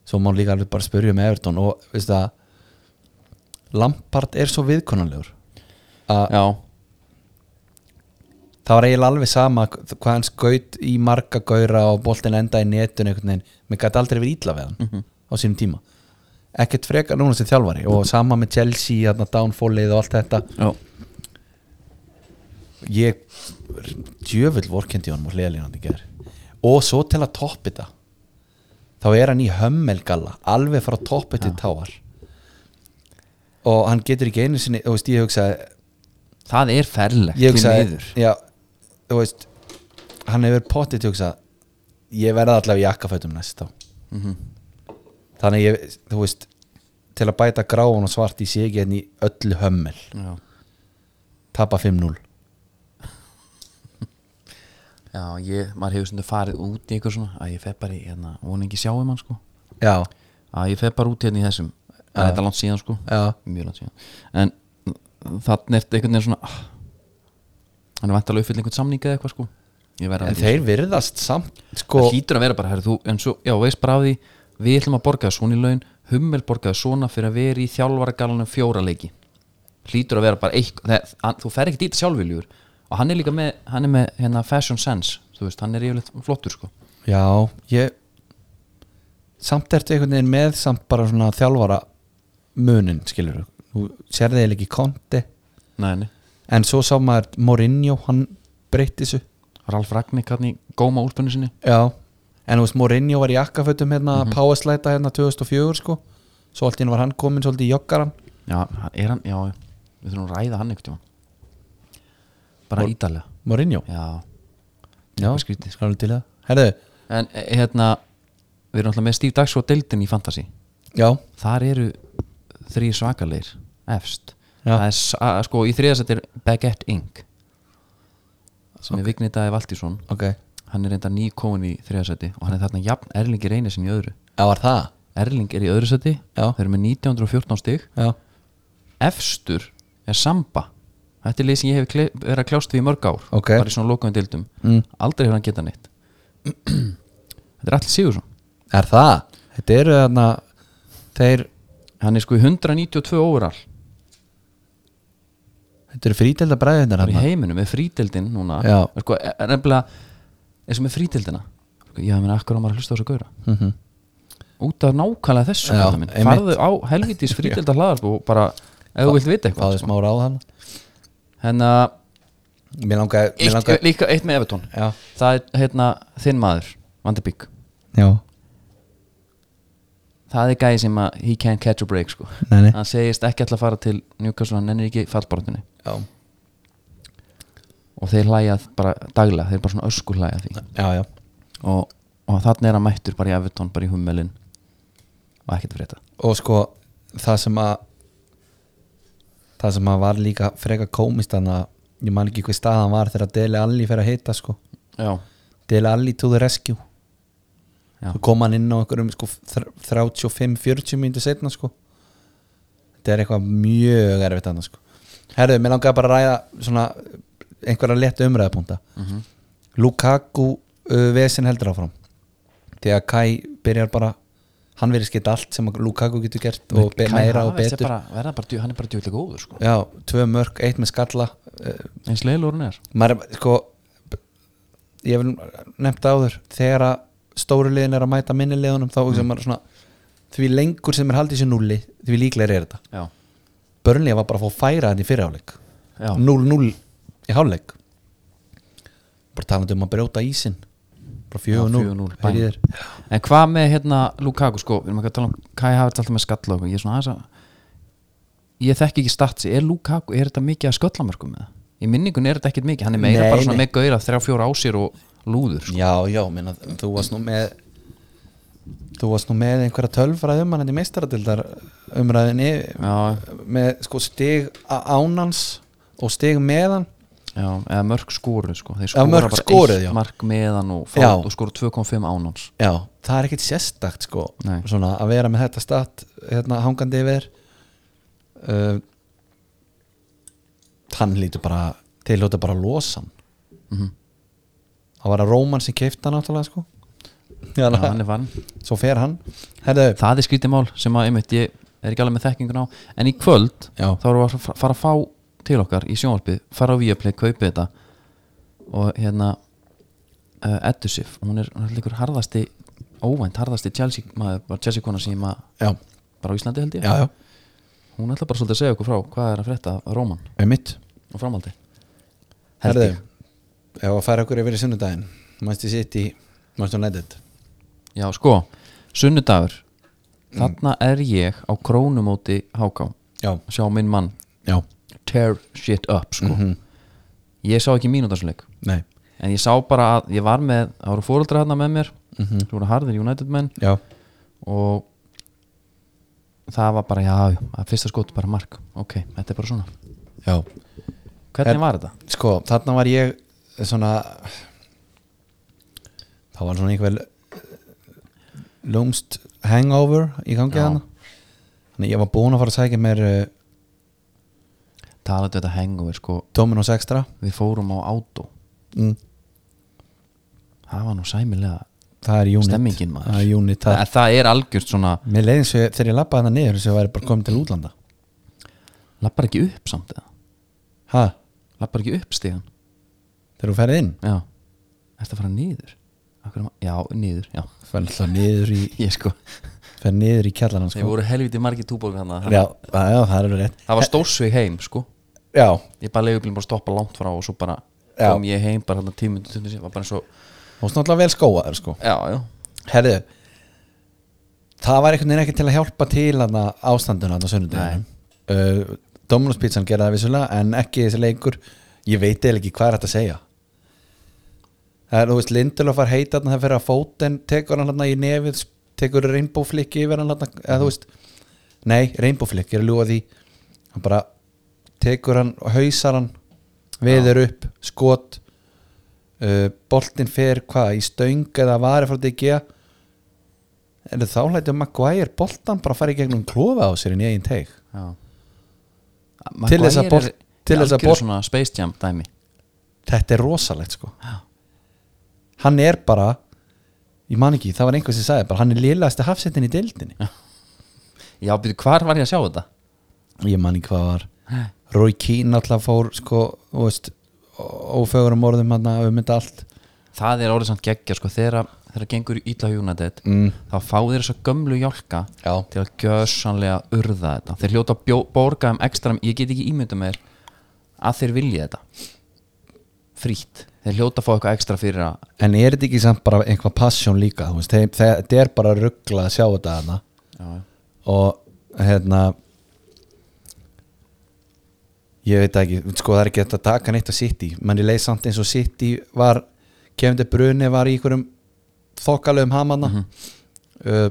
svo má líka alveg bara spyrja um Everton og veist það Lampard er svo viðkonanlegur að Já, það var eiginlega alveg sama hvað hann skaut í marga gaura og boltin enda í netun einhvern veginn, menn gæti aldrei verið ítla við hann Mhm. á sínum tíma ekkert frekar núna sem þjálfari og sama með Chelsea, þarna downfallið og allt þetta já, ég djöfull vorkendi honum og hliðalínu hann í ger og svo til að toppi þetta þá er hann í hömmelgalla alveg frá toppi til táar og hann getur ekki einu sinni þú veist, ég hugsaði það er ferlegt því ég hugsaði, miður. já, þú veist hann hefur pottið til að hugsa ég verði allavega í jakkafötum næst þá Mhm. þannig ég, þú veist til að bæta gráun og svart í sig en í öllu hömmel Já, tapa 5-0 já ég, maður hefur stundum farið út í eitthvað svona að ég fer bara í, hérna, hún ekki sjáum hann sko já, að ég fer bara út hérna í þessum að þetta er langt síðan sko Já. mjög langt síðan en þannig er einhvern veginn svona ah, hann er vantalega uppfyll einhvern samning eða eitthvað sko Ég verð að vera en í þeir virðast samt sko, sko, það hlýtur að vera bara, herri, þú, en svo, já, veist bara af því við ætlum að borga það svona í laun Hummel borgaði svona fyrir að vera í þjálfaragalunum fjóra leiki hlýtur að vera bara eitthvað, það, hann, þú fer ekki dýta sjálfviljur og hann er líka með, hann er með hérna, fashion sense, þú veist, hann er yfirleitt flottur sko, Já, ég samt ertu einhvern veginn með samt bara svona þjálfara munin, skilur þú sérði eða ekki konti næðinni en svo sá maður Mourinho, hann breytti þessu Ralf Ragnik hann í góma úlpunni sinni Já, en þú veist Mourinho var í akkafötum hérna, mm powerslæta hérna 2004 sko, svo allt í hann var hann komin svolítið í joggaran já, hann- er hann, já, við þurfum að ræða hann einhvern tíma bara ídalega Mourinho, já, já, eitthvað skrítið, sko til það Herðu, en eh, hérna við erum alltaf með Steve Dagsjó deildin í Fantasy já, þar eru þrý svakalegir efst Já. það er, s- að- sko, í þriðasett er Baguette Inc sem er Vignir Dæði Valdísson ok hann er enda nýkóin í þriðasetti og hann er þarna jafn Erling er einu sinni í öðru Já, var það? Erling er í öðru seti Já. þeir eru með 1914 stig Já, efstur er Samba þetta er leið sem ég hef kle- verið að kljást við í mörg ár Ok. bara í svona lokaðum deildum mm. aldrei hefur hann getað neitt þetta er allir Sigursson er það? Þetta eru þarna þeir, hann er sko í 192 óral þetta eru frítelda bræðunar bara hann í heiminum með frídeldin núna Já. er sko, er nefnilega eins og með frídeldina sko, ég meina akkur á maður að hlusta á þessu gauðra mm -hmm. út af nákvæmlega þessu Mhm. Já, kallar minn. einmitt. farðu á helvitis frídelda hlaðarp og bara ef þú vilt vita eitthvað Fáðu sko. smá ráð hann hérna Mér langaði, mér eitt, langaði líka eitt með Evertón Já. það er hérna þinn maður Van de Beek Já, það er gæði sem að he can't catch a break sko. Nei, nei. hann segist ekki alltaf að fara til Newcastle hann ennir ekki fallbaratunni já, og þeir hlæja bara daglega þeir bara svona ösku hlæja því já, já. og, og þannig er hann mættur bara í Evertón bara í hummelin og ekkert að frétta Og sko, það sem að Það sem að var líka freka komist Þannig að ég man ekki hver stað hann var Þegar Deli Alli fer að heita sko já, Deli Alli to the rescue Já. Svo kom hann inn á einhverjum sko, þr- 35-40 mínútur setna sko Þetta er eitthvað mjög erfitt annars sko Herðu, mér langaði bara að ræða svona einhverja létt umræðapunta Mhm. Lukaku uh, vesen heldur áfram Þegar Kai byrjar bara hann verið skita allt sem að Lukaku getur gert og be- meira og Havertz er betur bara, verða bara, djú- hann er bara djúlega góður sko. Já, tvö mörg, eitt með skalla uh, eins leilur hann er maður er sko ég hef nefnt áður þegar að stóru liðin er að mæta minni liðunum þá mm. maður svona því lengur sem er haldið sér núli því líklega er þetta já, Börnlega var bara að fá að færa þetta í fyrirháleik Já. 0-0 í háleik bara talandi um að brjóta ísin bara 4-0 4-0, Heyri í þér. bang. en hvað með hérna Lukaku sko, við erum ekki að tala um Kai Havertz alltaf með skalla og eitthvað, ég er svona aðeins að ég þekki ekki statsi, er Lukaku, er þetta mikið að sköllamarkum með það? í minningun er þetta ekkert mikið, hann er meira Nei, bara svona nei. með gauðra þrjá fjóra á sér og lúður sko. Já, já, minna, þú varst nú með þú varst nú með einhverja tölfræð um hann þetta í meistaradildar umræðinni já, með sko stig á- án hans og stig með hann já, eða mörg skoruð sko. þeir Eða skora mörk bara skoruð, já. eitt mark meðan og, fá, Já. og skora 2,5 ánans Já, það er ekkit sérstakt sko Nei. svona að vera með þetta stat hérna hangandi yfir uh, hann lítur bara til hljóta bara að losa hann Mhm. það var að Róman sem keifta hann náttúrulega sko Já, já, hann er vann svo fer hann Herðu, það er skrítið mál sem að einmitt ég er ekki alveg með þekkingun á en í kvöld Já. þá erum við að fa- fara að fá til okkar í sjónvarpið fara á Viaplay, kaupið þetta og hérna uh, Edusif, hún er hún er líkur harðasti óvænt harðasti Chelsea, maður, bara Chelsea kona sem ég maður já, bara á Íslandi held ég já, já, hún ætla bara svolítið að segja okkur frá hvað er að frétta af Róman einmitt og framhaldi Held Herðu, ég. ef að færa okkur yfir í sunnudaginn Manchester City, Manchester United Já, sko, sunnudagur Mm. þarna er ég á krónumóti háká, Já, sjá minn mann já, tear shit up, sko Mhm. ég sá ekki mínútarsleik nei, en ég sá bara að ég var með það voru fóreldra hérna með mér mm Mhm. -hmm. voru harðir United menn já og það var bara, já, já, að fyrsta skot bara mark, ok, þetta er bara svona Já, hvernig Er- var þetta? sko, þarna var ég svona það var svona einhver lúmst hangover í gangi Já. þarna Þannig ég var búinn að fara að sækja mér uh, talaðu þetta hengu, sko, Dominos Extra við fórum á átó mm. það var nú sæmilega Það er unit Stemmingin, maður. Það er unit það, það. það er algjört svona, Mér leiðin svo þegar ég labbaði þarna niður sem ég væri bara komið til útlanda lappar ekki upp samt eða Ha, lappar ekki upp stíðan þegar þú ferði inn Já Ertu að fara niður? Akkur, já, niður, já fer alltaf niður í, Ég sko fer niður í kjallarann Þeir sko. voru helviti margir túbók hann já, já, já, það er rétt Það var stórsvig heim, sko já, Ég bara leiði bara að stoppa langt frá og svo bara Já. kom ég heim bara hann að tímyndu tundur sér var bara eins og þú varst náttúrulega vel skóaður sko. Já, já herðu það var einhvern veginn ekki til að hjálpa til hann ástanduna hann á sunnudeginu uh, Dominus Pizzan gera það vissulega en ekki þessi leikur ég veit eða ekki hvað er þetta að segja það er, þú veist, Lindelof var heita hann það fyrir að fóten, tekur hann hann í nefið tekur rainbow flick yfir hann hann eða þú veist, nei, rainbow flick ég er að ljúga því, hann bara tekur hann, og hausar hann veður upp, skot uh, boltinn fer hvað í stöng eða varir frá DG en þá lætur Maguire boltan bara fara í gegnum klofa á sér í eigin teig Já Til þess að Maguire bolt- er til í þess að algjöru bolt- svona Space Jam dæmi þetta er rosalegt sko Já. hann er bara ég man ekki, það var einhver sem sagði bara hann er liðlegasti hafsettin í deildinni Já, byrju, hvar var ég að sjá þetta? ég man ekki hvað var Roy Keane alltaf fór sko, þú veist, ó- ófögurum orðum hann um þetta allt Það er orðið samt geggja, sko Þegar þegar gengur í illa United Mm. þá fá þeir þess gömlu hjálka já, til að gjössanlega urða þetta þeir hljóta að bjó- borga um ekstra ég get ekki ímynda með þér að þeir vilja þetta frítt þeir hljóta að fá eitthvað ekstra fyrir að en er þetta ekki samt bara einhvað passjón líka þú veist, þeim, þeim, þetta er bara ruggla að sjá þetta hana já, og hérna ég veit það ekki, sko það er ekki hægt að taka neitt á City, mann ég leið samt eins og City var, kemur til brunni var í einhverjum þokkalegum hamanna Mhm. uh,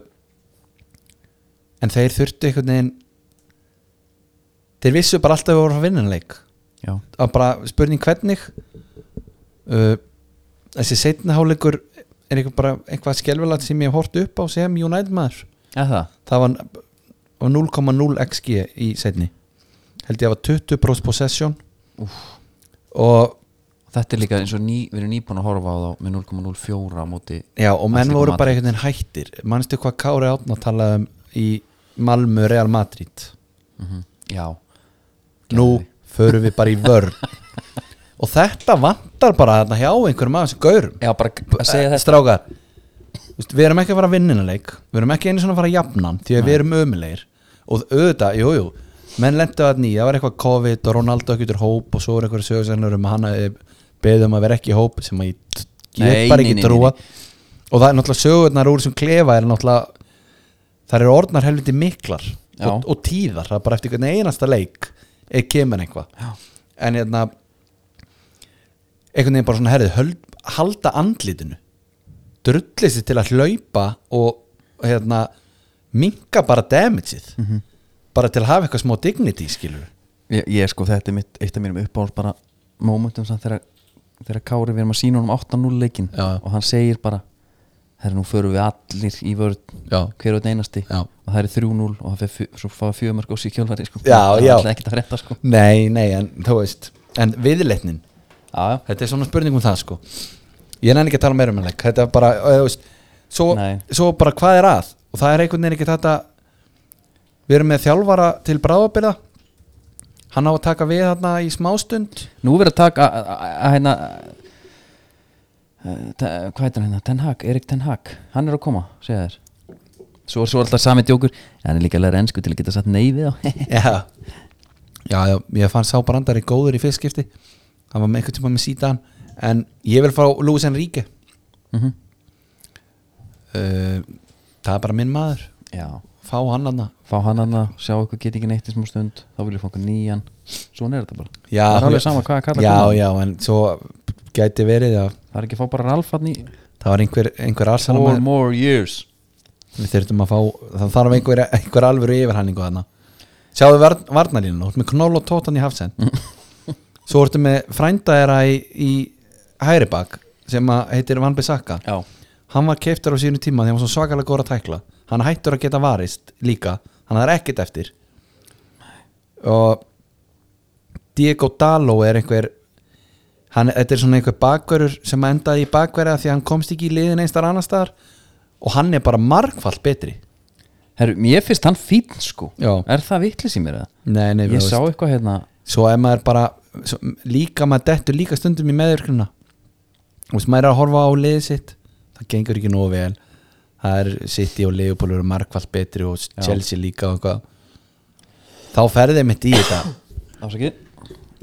en þeir þurftu einhvern veginn þeir vissu bara alltaf að við vorum að vinna en leik já, að bara spurning hvernig uh, þessi setna háleikur er einhver bara einhvað skelvilegt sem ég hef hort upp á sem United maður eða það það var, var 0,0 xg í setni held ég að var 20% possession og, þetta er líka eins og ný, við erum nýbúin að horfa á þá með 0,04 á móti já, og menn Atletico voru bara Madrid. einhvern veginn hættir manstu hvað Kári Átna talaði um í Malmö Real Madrid Mhm. já, nú förum við bara í vörn og þetta vantar bara þarna hjá einhverjum af þessum gaurum já bara að segja þetta Eh, strákar Vist, við erum ekki að fara að vinna vinninaleg við erum ekki einu svona að fara að jafna hann, því að við erum ömulegir og auðvitað, jújú jú, menn lendu að nýja, það var eitthvað COVID og Ronaldo ekki út úr hóp og svo er eitthvað sögursennur um að hann beðum að vera ekki í hóp sem að ég t- get Nei, bara nei, ekki nei, trúa og það er náttúrulega sögurnar úr sem klefa er náttúrulega það eru orðnar helviti miklar Já. og, og tíðar, það er bara eftir einhvern einasta leik eða kemur eitthvað Já. en hérna einhvern veginn bara svona herrið höld, halda andlitinu drullið sér til að hlaupa og og hérna minka bara damageið Mhm. bara til að hafa eitthvað smá dignity skilur ég, ég sko þetta er mitt, eitt af mínum uppáhalds bara momentum samt þegar, þegar Kári við erum að sína honum 8-0 leikin Já. og hann segir bara herra nú förum við allir í vörð Já. hver og einn einasti Já. og það er 3-0 og það fer fjö- svo fá fjögumörk og sér kjálfæri sko. Já, það já. er alltaf ekkert að frétta sko. nei, nei, en þú veist en viðleitnin, já, já. þetta er svona spurning um það sko ég nenni ekki að tala meira um hann leik þetta er bara, eh, þú veist svo, Nei. svo bara hvað er að og það er einhvern veginn ekki þetta við erum með þjálfara til bráðabyrða hann á að taka við þarna í smástund nú verður að taka að- að- að- að hérna eh, te- hvað heitir hann hérna, Ten Hag, Erik Ten Hag hann er að koma, segja þér svo, svo er alltaf sami djókur, hann er líka að læra ennsku til að geta satt nei við á já. já, já, ég fann sá brandari góður í fyrstskipti hann var með eitthvað tíma með sítan en ég vil fá Luis Enrique Mhm. uh, það er bara minn maður já, fá hann aðna fá hann annað, sjá eitthvað get ekki neitt í smá stund, þá vil ég fá einhver nýjan svona er þetta bara, já, það er alveg sama hvað að kalla já, konan. já, en svo gæti verið að það er ekki að fá bara Ralf hann í það var einhver, einhver four arsanamæður more years við þurftum að fá, það þarf einhver, einhver alvöru yfirhælingu þarna sjáðu varn, varnalínu, þú ert með knoll og tótan í hafsend svo ertu með frænda þeirra í, í hægri bak sem að heitir Van Bissaka já, hann var keiftur á sínu tíma því hann var svo svakalega góður að tækla hann hættur að geta varist líka hann er ekkert eftir og Diego Dalo er einhver hann, þetta er svona einhver bakverður sem endaði í bakverða því að hann komst ekki í liðin einstar annar staðar og hann er bara margfalt betri herru, mér finnst hann fín sko Já. er það vitlis í mér eða? nei, nei, ég sá eitthvað hérna svo ef maður bara svo, líka maður dettur líka stundum í meðvirkuna og veist maður er að horfa á liðið sitt það gengur ekki nógu vel það er City og Liverpool eru markvallt betri og Chelsea líka og eitthvað þá ferðið mitt í þetta ásakið,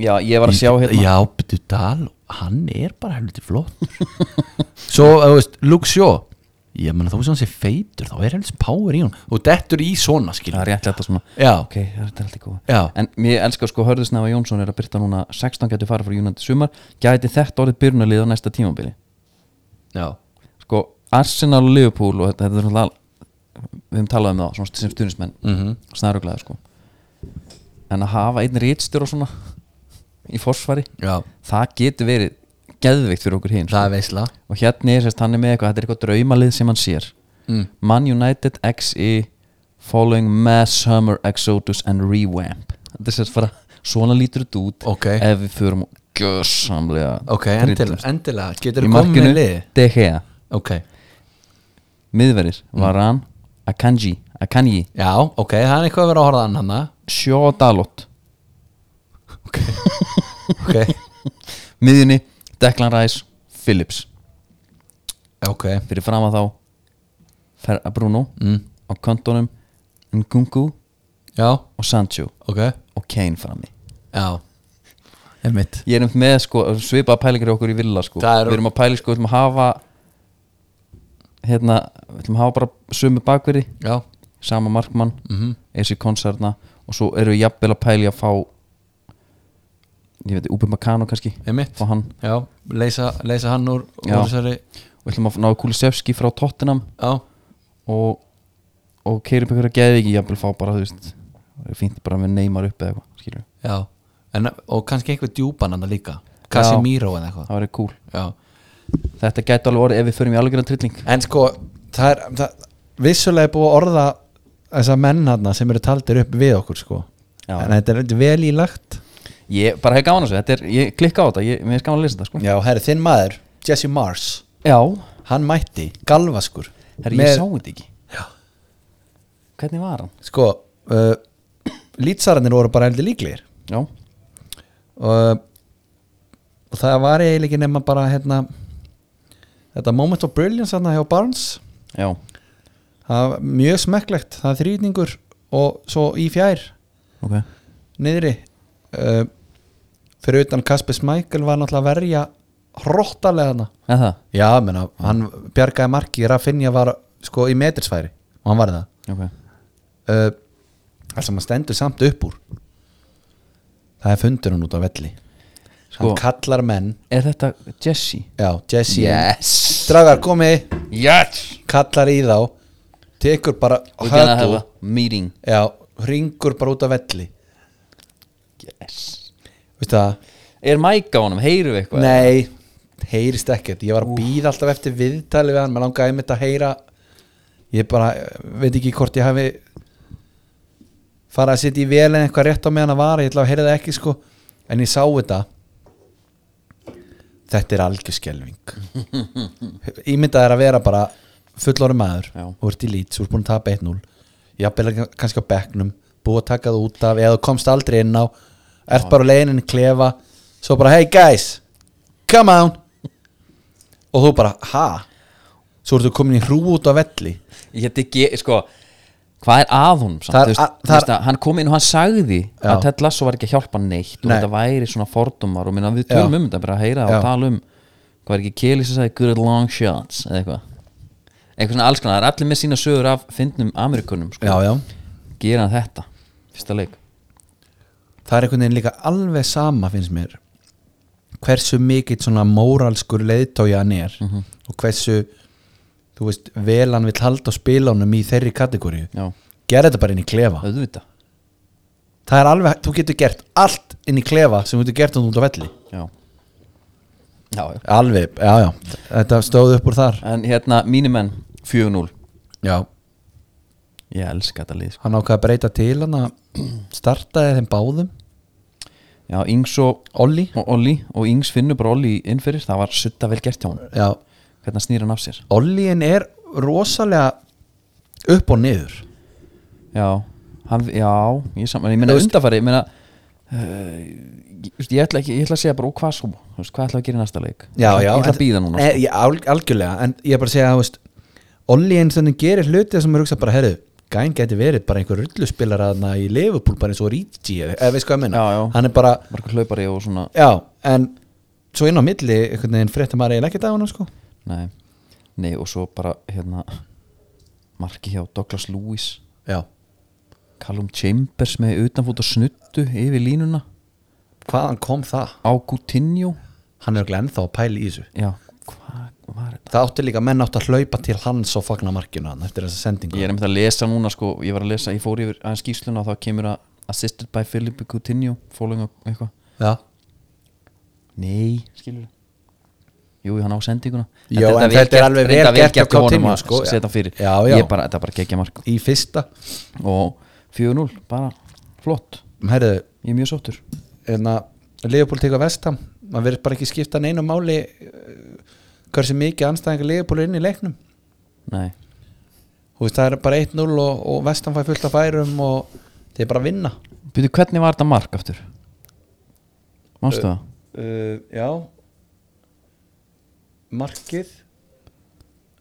já, ég var að sjá hérna já, betur Dal, hann er bara helviti flott svo, þú veist, Luke Shaw ég meina þú sem hann sé feitur þá er helviti power í hún og dettur í svona skil það er rétt þetta svona já, ok, þetta er alltaf góð Já. en mér elskar sko Hörðusnafa Jónsson er að byrta núna 16 gæti fara frá Júnandi sumar gæti þetta orðið byrjunarlið á næsta tímabili já, sko Arsenal og Liverpool og þetta, þetta er svona al- við höfum talað um það svona sem stuðnismenn mm Mhm. -hmm. snaruglega sko en að hafa einn rítstjóra svona í forsvari já, það getur verið geðveikt fyrir okkur hinn það er veisla og hérna er sérst hann er með eitthvað þetta er eitthvað draumalið sem hann sér Mm. Man United XE following Mass Hummer Exodus and Revamp þetta er sérst bara svona lítur þetta út Ok. ef við förum og gjörsamlega sko. Ok, endilega, endilega. getur í þú komið með markinu lið De Gea Ok, miðverðir Mm. Varan Akanji Akanji já, ok, það er eitthvað að vera að horfa annan Sjó Dalot Ok, miðjunni Declan Rice Phillips ok, fyrir fram að þá Fer Bruno mm. á kontónum Ngungu já, og Sancho ok, og Kane frammi já Einmitt ég er um með sko, svipaða pælingar hjá okkur í villa sko. Það er- við erum að pæli sko, við ætlum að hafa hérna, við ætlum að hafa bara sömu bakveri, Já, sama markmann mm Mhm. -hmm. eins í konserna og svo eru við jafnvel að pæli að fá ég veit, Ubi Makano kannski einmitt fá hann, Já, leysa, leysa hann úr Já. úr þessari við ætlum að ná Kulisevski frá Tottenham Já, og og keirum ykkur að geði ekki, jafnvel fá bara þú veist, það er fínt bara með neymar upp eða eitthvað, skilur já en, Og kannski einhver djúpan hann líka Casemiro eða eitthvað það verið cool, Já þetta gæti alveg orðið ef við förum í algjörðan trilling En sko, það er það, vissulega er búið að orða þessa menn hann sem eru taldir upp við okkur sko Já. En þetta er vel í lagt ég bara hef gaman að segja, þetta er, ég klikka á þetta ég, mér er gaman að lesa þetta sko Já, herri, þinn maður, Jesse Mars Já, hann mætti galvaskur herri, með- ég sá þetta ekki Já. Hvernig var hann? sko uh, lýtsararnir voru bara heldur líklegir Já, uh, og það var eiginlega ekki nema bara hérna þetta moment of brilliance hérna hjá Barnes já, það var mjög smekklegt, það er þrýningur og svo í fjær ok niðri uh, fyrir utan Kasper Smækel var náttúrulega að verja hróttalega hana Eða það? já, menna, hann bjargaði marki Rafinha var sko í metrisfæri og hann var það Ok uh, það sem að stendur samt upp úr það er fundurinn út á velli Sko, hann kallar menn er þetta Jesse? já, Jesse Yes. dragar komi, Yes kallar í þá tekur bara We're gonna have a höggl- meeting já, ringur bara út af velli Yes veistu það Er mæk á honum, heyrum við eitthvað? Nei, heyrist ekkert Ég var að býða alltaf eftir viðtali við hann Mér langaði einmitt að heyra Ég bara eh, veit ekki hvort ég hafi Farað að sitja í vel en eitthvað rétt á meðan að vara Ég ætla að heyra það ekki sko En ég sá þetta Þetta er algjörskelving Ímyndað er að vera bara fullorinn maður Já. og ert í lít, svo er búin að tapa 1-0 jafnvel kannski á bekknum búið að taka það út af, eða þú komst aldrei inn á ert bara á leiðinni inn í klefa svo bara, hey guys come on og þú bara, ha svo ertu komin í hrú út á velli Ég geti ekki, sko Hvað er að honum samt? Það er Þú veist- að- þú það er- veist að Hann kom inn og hann sagði Já. að Ted Lasso var ekki að hjálpa hann neitt og Nei. þetta væri svona fordómar og minna við Já. tölum um þetta bara að heyra það Já. og tala um hvað er ekki Kelly sem sagði good long shots eða eitthvað eitthvað svona alls konar, það er allir með sína sögur af fyndnum Amerikunum sko. já, já, gera hann þetta, fyrsta leik það er einhvern veginn líka alveg sama finnst mér hversu mikill svona móralskur leiðtói hann er og hversu þú veist, vel hann vill halda á spilunum í þeirri kategóriu Já, gera þetta bara inn í klefa auðvitað það er alveg, þú getur gert allt inn í klefa sem þú getur gert hann út á velli Já, já, já. alveg, já, já, þetta stóð upp úr þar En hérna, mínimenn 4-0 já, Ég elska þetta lið sko. hann ákvað að breyta til hann að startaði þeim báðum Já, Ings og, Olli, og Olli og Ings finnur bara Olli innfyrir það var sutta vel gert hjá hún já, hvernig snýr hann af sér Ollin er rosalega upp og niður Já, hann, já ég, sam, en ég meina Þú veist- undarfæri ég meina uh, ég, þú veist, ég, ætla ekki, ég ætla að segja bara úr hvað sko þú veist, hvað ætla að gera í næsta leik já, ég, já, ætla en- Eh- að býða núna sko. Nei, já, al- algjörlega, en ég er bara að segja þú veist, Olli eins og hann gerir hluti sem er hugsað bara, herru, gæn geti verið bara einhver rulluspilar aðna í Liverpool bara eins og Ríti, eða veist hvað ég meina Já, já. hann er bara, margur hlaupari sko. og svona já, en svo inn á milli, einhvern veginn fréttum maður eiginlega ekki dagana, sko nei, nei, og svo bara hérna marki hjá Douglas Lewis já, Callum Chambers með utanfót og snuttu yfir línuna hvaðan kom það? á Coutinho hann er ekki ennþá að pæla í þessu já, hvað var þetta það átti líka menn átt að hlaupa til hans og fagna markinu hann eftir þessa sendingu ég er einmitt að lesa núna sko, ég var að lesa, ég fór yfir aðeins skýsluna og þá kemur að assisted by Philip Coutinho following up eitthvað já, Nei, skilur Jú, hann á sendinguna Já, vel en þetta er gert- alveg reyndar vel gert hjá hjá honum Coutinho, að sko, setja já. fyrir Já, já. Ég bara, þetta er bara geggja mark í fyrsta Og 4-0, bara flott herðu, Ég er mjög sáttur en að Leopold teka vestam maður verður bara ekki skipta neinu máli eh, hversu mikið anstæðingar Leopold er inn í leiknum Nei, Þú veist, það er bara 1-0 og, og vestam fær fullt af færum og þeir bara að vinna byrju, hvernig var þetta mark aftur? Manstu það? uh, já markið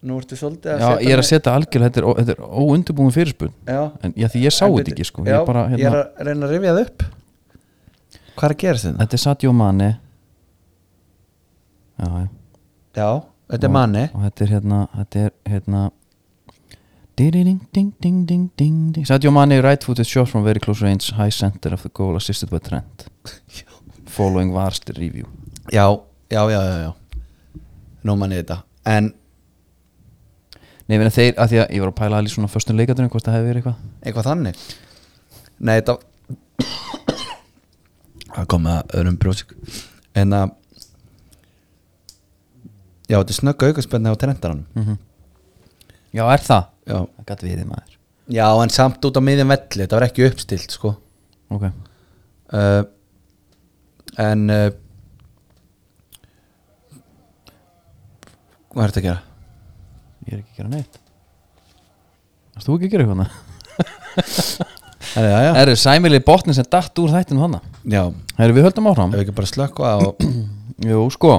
nú ertu svolítið Já, ég er að setja algjörlega, þetta er, ó- þetta er óundubúin fyrirspun já, En já, því ég sá En þetta byrju, ekki, sko já, Ég bara, ég er hérna, að reyna að rifja það upp hvað er að hérna? gera þetta? þetta er Sadio Mane Já, já já, þetta er manni og þetta er hérna þetta er hérna Ding, ding, ding, ding, ding, ding. Sadio Mane right footed shot from very close range high center of the goal assisted by Trent following varst review já, já, já, já, já. nú manni þetta en Nei, ég meina þeir, að því að ég var að pæla alveg svona föstum leikatunum, hvort það hefði verið eitthvað eitthvað þannig nei, þetta það kom með að öðrum brjósik en að já, þetta er snögg aukaspenni á trendaranum Já, er það? já. Það gæti við þið maður já, en samt út á miðin velli þetta var ekki uppstilt, sko Ok, uh, en uh, hvað er þetta að gera? ég er ekki að gera neitt Varst þú ekki að gera eitthvað hana? Herri, já, já. Erðu sæmilið botnin sem datt úr þættinu hana Eh, já, Erðu við höldum áfram? ef við ekki bara slökka og Jú, sko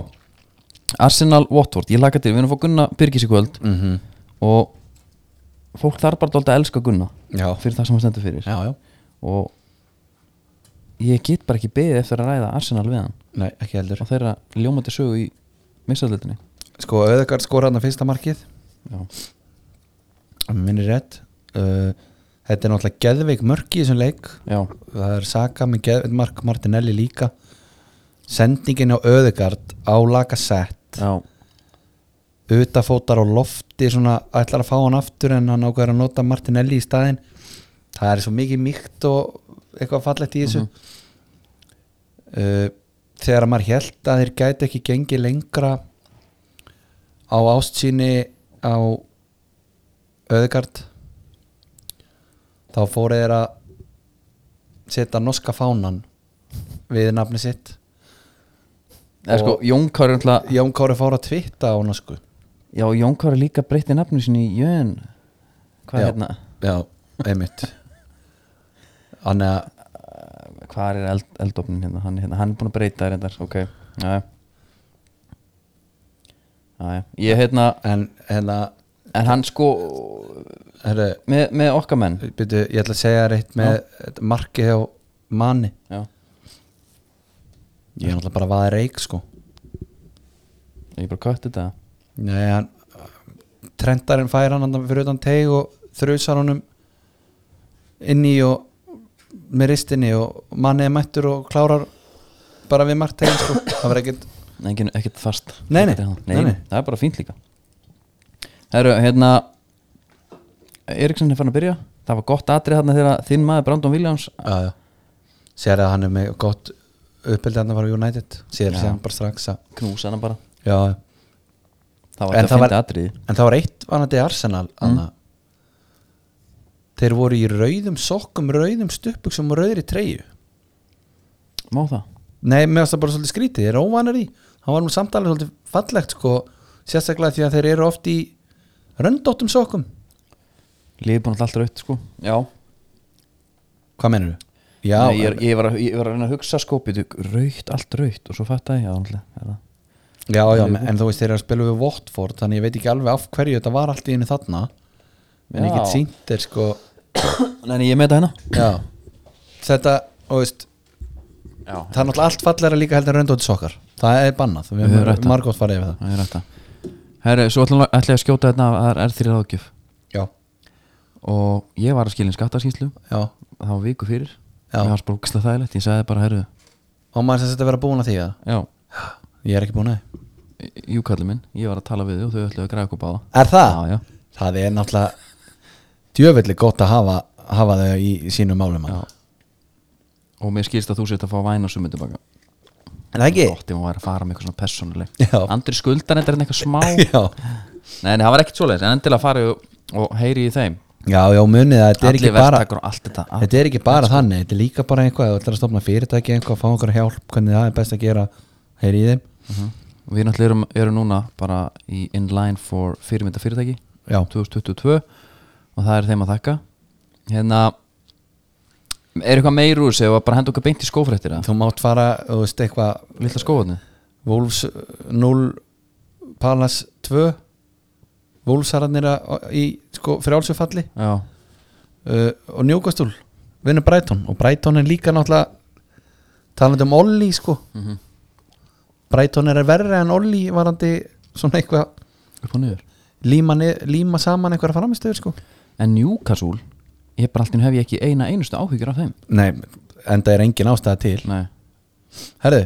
Arsenal Watford, ég laka til, við erum að fá Gunna Byrgis í kvöld Mhm. -hmm. og fólk þarf bara dálítið að elska Gunna já, fyrir það sem hann stendur fyrir já, já, og ég get bara ekki beðið eftir að ræða Arsenal við hann nei, ekki heldur og þeirra ljómandi sögu í missaldildinni sko, Öðegard skora hann að fyrsta markið Já, að mér minni rétt uh, þetta er náttúrulega geðveik mörki í þessum leik já, það er Saka með geðveik mark Martinelli líka sendingin á öðugard á lagasett já, utafótar á lofti svona ætlar að fá hann aftur en hann ákveður að nota Martinelli í staðinn það er svo mikið mýkt og eitthvað fallegt í þessu uh, þegar maður held að þeir gæti ekki gengið lengra á ástsýni á öðugard þá fóru þeir að setja norska fánan við nafni sitt eða sko Og- Jón Kári er náttúrulega- Jón Kári fór að tvitta á sko. norsku já, Jón Kári líka breytti nafnu sinni í Jön hvað Já. er hérna Já, einmitt Þannig að hvað Eh, er eld, eldofnin hérna hann, er hérna hann er búin að breyta þér endar ok, já já, ég hérna En hérna en hann sko herru, með, með okkar menn byrju, Ég ætla að segja þér eitt með þetta markið hjá manni já, Ég er náttúrulega bara að vaða reik sko ég bara kött þetta Nei, hann Trentarinn fær hann andan fyrir utan teig og þrjusar honum inn í og með ristinni og manni er mættur og klárar bara við margt tegin sko Það var ekkert Engin, ekkert fast Nei, nei. Ekkert hérna. Nei, nei. það er bara fínt líka herru, hérna Eriksson er fann að byrja það var gott atrið þarna þegar þinn maður Brandon Williams Já, já Sér að hann er með gott uppeldi hann að fara á United Sér Já. sem bara strax að knúsa hana bara Já, já það var En þetta það að var, finna atrið en það var eitt vanandi Arsenal mm. Þeir voru í rauðum sokkum, rauðum stuppuksum og rauðri treyju má það? Nei, mér varst það bara svolítið skrítið, þeir eru óvanar í Það var nú samtalið svolítið fallegt sko Sérstaklega því að þeir eru oft í röndóttum sokkum liði búin alltaf raut sko já, Hvað menur þú? Já, Nei, ég, er- ég, var að, ég var að reyna að hugsa sko býtu, raut, allt raut og svo fatta ég já, náttúrulega, er það. já, já, en þú veist þeir eru að spila við Votford Þannig ég veit ekki alveg af hverju þetta var allt í einu þarna En ég get Já. sínt þeir sko Nei, nei, ég með þetta hérna Já, þetta, þú veist já, Það er náttúrulega allt fallegra líka heldur röndótt sokkar Það er bannað, við Við höfum rætt höfum það. margótt farið yfir það það er þetta herru, svo ætla, ætla ég að skjóta þetta að það er þrjir ágjöf Já, og ég var að skilja skattaskýnslu já það var viku fyrir Já. ég var sprókislega þægilegt, ég sagði bara herru Og maður sem þetta vera búin að því að já, Ég er ekki búin að því júkalli minn, ég var að tala við þau og þau ætlaðu að græða okkur báða Er það? já, já, Það er náttúrulega djöfelli gott að hafa, hafa þau í sínum málum já. mann. og mér skilst að þú sért að fá væna og sumu tilbaka En það ekki? gott ef hún væri að fara með eitthvað svona persónuleg Já. andri skuldar þetta er eitthvað smá nei, Já, nei, það var ekkert svoleiðis en endilega farið og, og heyri í þeim já, já, munið að þetta er allir Ah. ekki bara verktakar og allt þetta allt. Þetta er ekki bara þannig, þetta er líka bara eitthvað Þú ætlar að stofna fyrirtæki eitthvað, fá einhver hjálp Hvernig það er best að gera, heyri í þeim við náttúrulega erum, erum núna bara í inline for fyrirmynda fyrirtæki Já, 2022 og það er þeim að þakka hérna er eitthvað meir úr þessu og bara henda okkar beint í skófrættir þú mátt fara, þú veist, eitthvað lilla skófarni Wolves 0 Palace 2 Wolvesararnir að- í sko, frjálsufalli já, uh, og Newcastle vinnur Brighton og Brighton er líka náttúrulega talandi um Olli sko Brighton er verri en Olli varandi svona eitthvað upp og niður líma, nið- líma saman eitthvað að framistöður sko en Newcastle, ég bara alltaf hef ég ekki eina einustu áhyggjur af þeim Nei, enda er engin ástæða til Nei. Herðu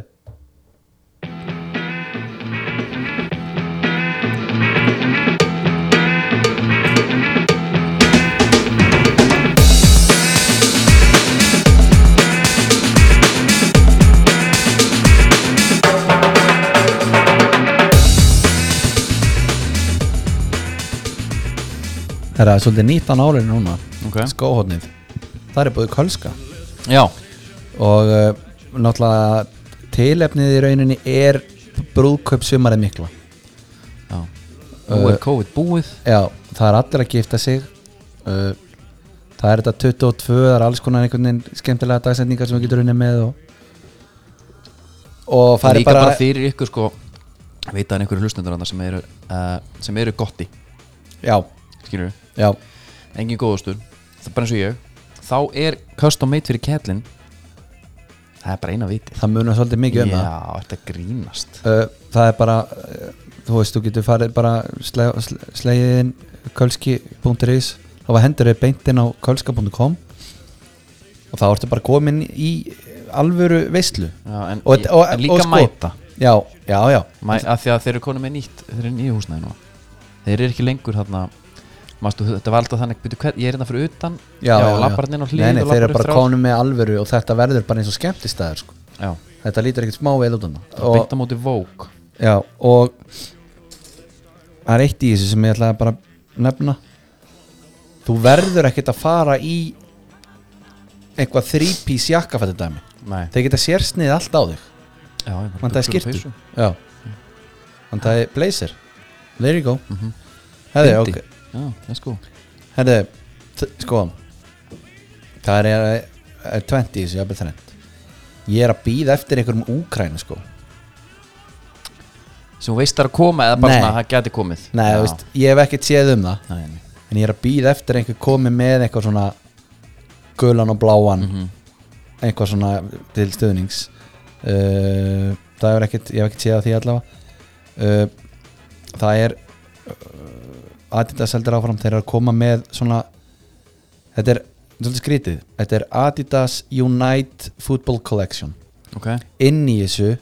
Það er svolítið 19 árið núna Ok. Skóhóðnið Það er búið kölska já, og uh, náttúrulega tilefnið í rauninni er brúðkaup sumarið mikla já Eh, nú er COVID búið já, það er allir að gifta sig uh, það er þetta 22 það er alls konar einhvern veginn skemmtilega dagsendingar sem við getur unni með og, og farið líka bara, bara, fyrir ykkur sko veit að einhverju hlustendur andar sem eru uh, sem eru gotti, já, skilur við já, engin góðastur, það er bara eins og ég þá er custom made fyrir kettlin það er bara eina viti það munar svolítið mikið um það já, þetta grínast uh, það er bara uh, þú veist, þú getur farið bara sle, sle, slegiðin kölski.is þá var hendur þau beintinn á kölska.com og þá ertu bara komin í alvöru veislu Já, en, Og þetta- og- en og líka sko- mæta Já, já, já Mæ, að því að þeir eru konum með nýtt þeir eru nýju húsnæði núna þeir eru ekki lengur þarna Mastu, þetta var alltaf þannig, byrju, hver, ég er hérna fyrir utan Já, já, já. lappar hann inn á hlýð Nei, nei, og þeir lappar eru upp bara þrjár. konum með alvöru og þetta verður bara eins og skemmtistæður sko. Já, Þetta lítur ekkert smá vel út hann og beinta móti vók Já, og það er eitt í þessu sem ég ætlaði bara að nefna Þú verður ekkert að fara í eitthvað þrípís jakkafættu dæmi Nei, Þeir geta sérsnið allt á þig já, ég bara buxur Vantaði og skyrtu peysu. Já Vantaði blazer There you go mm Mhm. -hmm. Bindi. ok Já, let's go Herðu, t- sko Það er, er 20 þessu, jafnvel þrennt Ég er að býða eftir einhverjum úkrænu sko sem þú veist það er að koma eða bara Nei. svona að það geti komið Nei, Já. þú veist, ég hef ekkert séð um það Nei, nei. En ég er að býða eftir einhver komi með eitthvað svona Gulan og bláan Eitthvað svona til stöðnings uh, Það hefur ekkert, ég hef ekkert séð að því allavega uh, Það er uh, Adidas heldur áfram Þeir eru að koma með svona Þetta er, svolítið skrítið Þetta er Adidas Unite Football Collection ok, Inn í þessu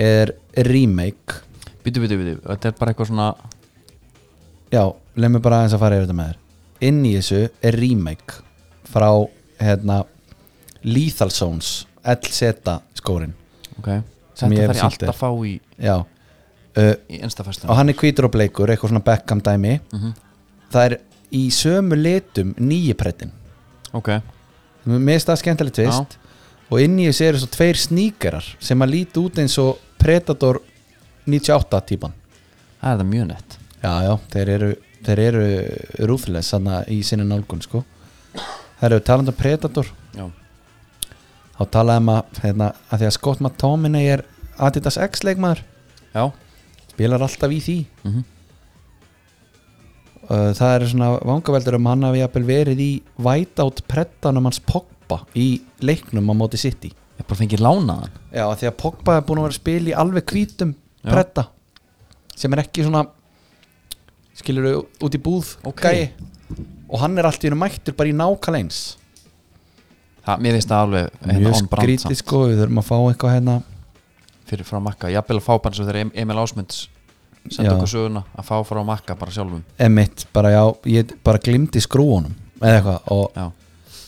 er remake býtu, býtu, býtu þetta er bara eitthvað svona Já, leið mér bara aðeins að fara yfir þetta með þér Inn í þessu er remake frá hérna Lethal Zones LZ skórin ok, Sem ég þetta þarf hef ég sýnt alltaf þér. að fá í, Já uh, í einstafæstum og hann er hvítur og bleikur, eitthvað svona Beckham dæmi Það er í sömu litum nýjiprettin ok, Mér finnst það skemmtilegt tvist og inn í þessu eru svo tveir sníkerar sem að líti út eins og Predator 98 típan það er það mjög nett Já, já, þeir eru, þeir eru rúðless þarna í sinni nálgun sko. Það eru talandi um Predator já, þá talaði maður hérna, að því að Scott McTominay er Adidas X leikmaður já, spilar alltaf í því Mhm. Uh, það eru svona vangaveldur um hann hafi jafnvel verið í Whiteout preddanum hans Pogba í leiknum á móti City ég bara fengið lánaðan Já, af því að Pogba er búin að vera að spila í alveg hvítum Já. pretta sem er ekki svona skilur út í búð Ok. gæi og hann er alltaf mættur bara í nákvæmlega eins það, mér finnst það alveg hérna mjög on brand skrítið samt, sko, við þurfum að fá eitthvað hérna fyrir frá makka, ég að byrja að fá bara eins og þegar Em- Emil Ásmunds Já. senda okkur söguna að fá frá makka bara sjálfum emitt, bara já, ég bara glimti skrúunum eða eitthvað, og, já,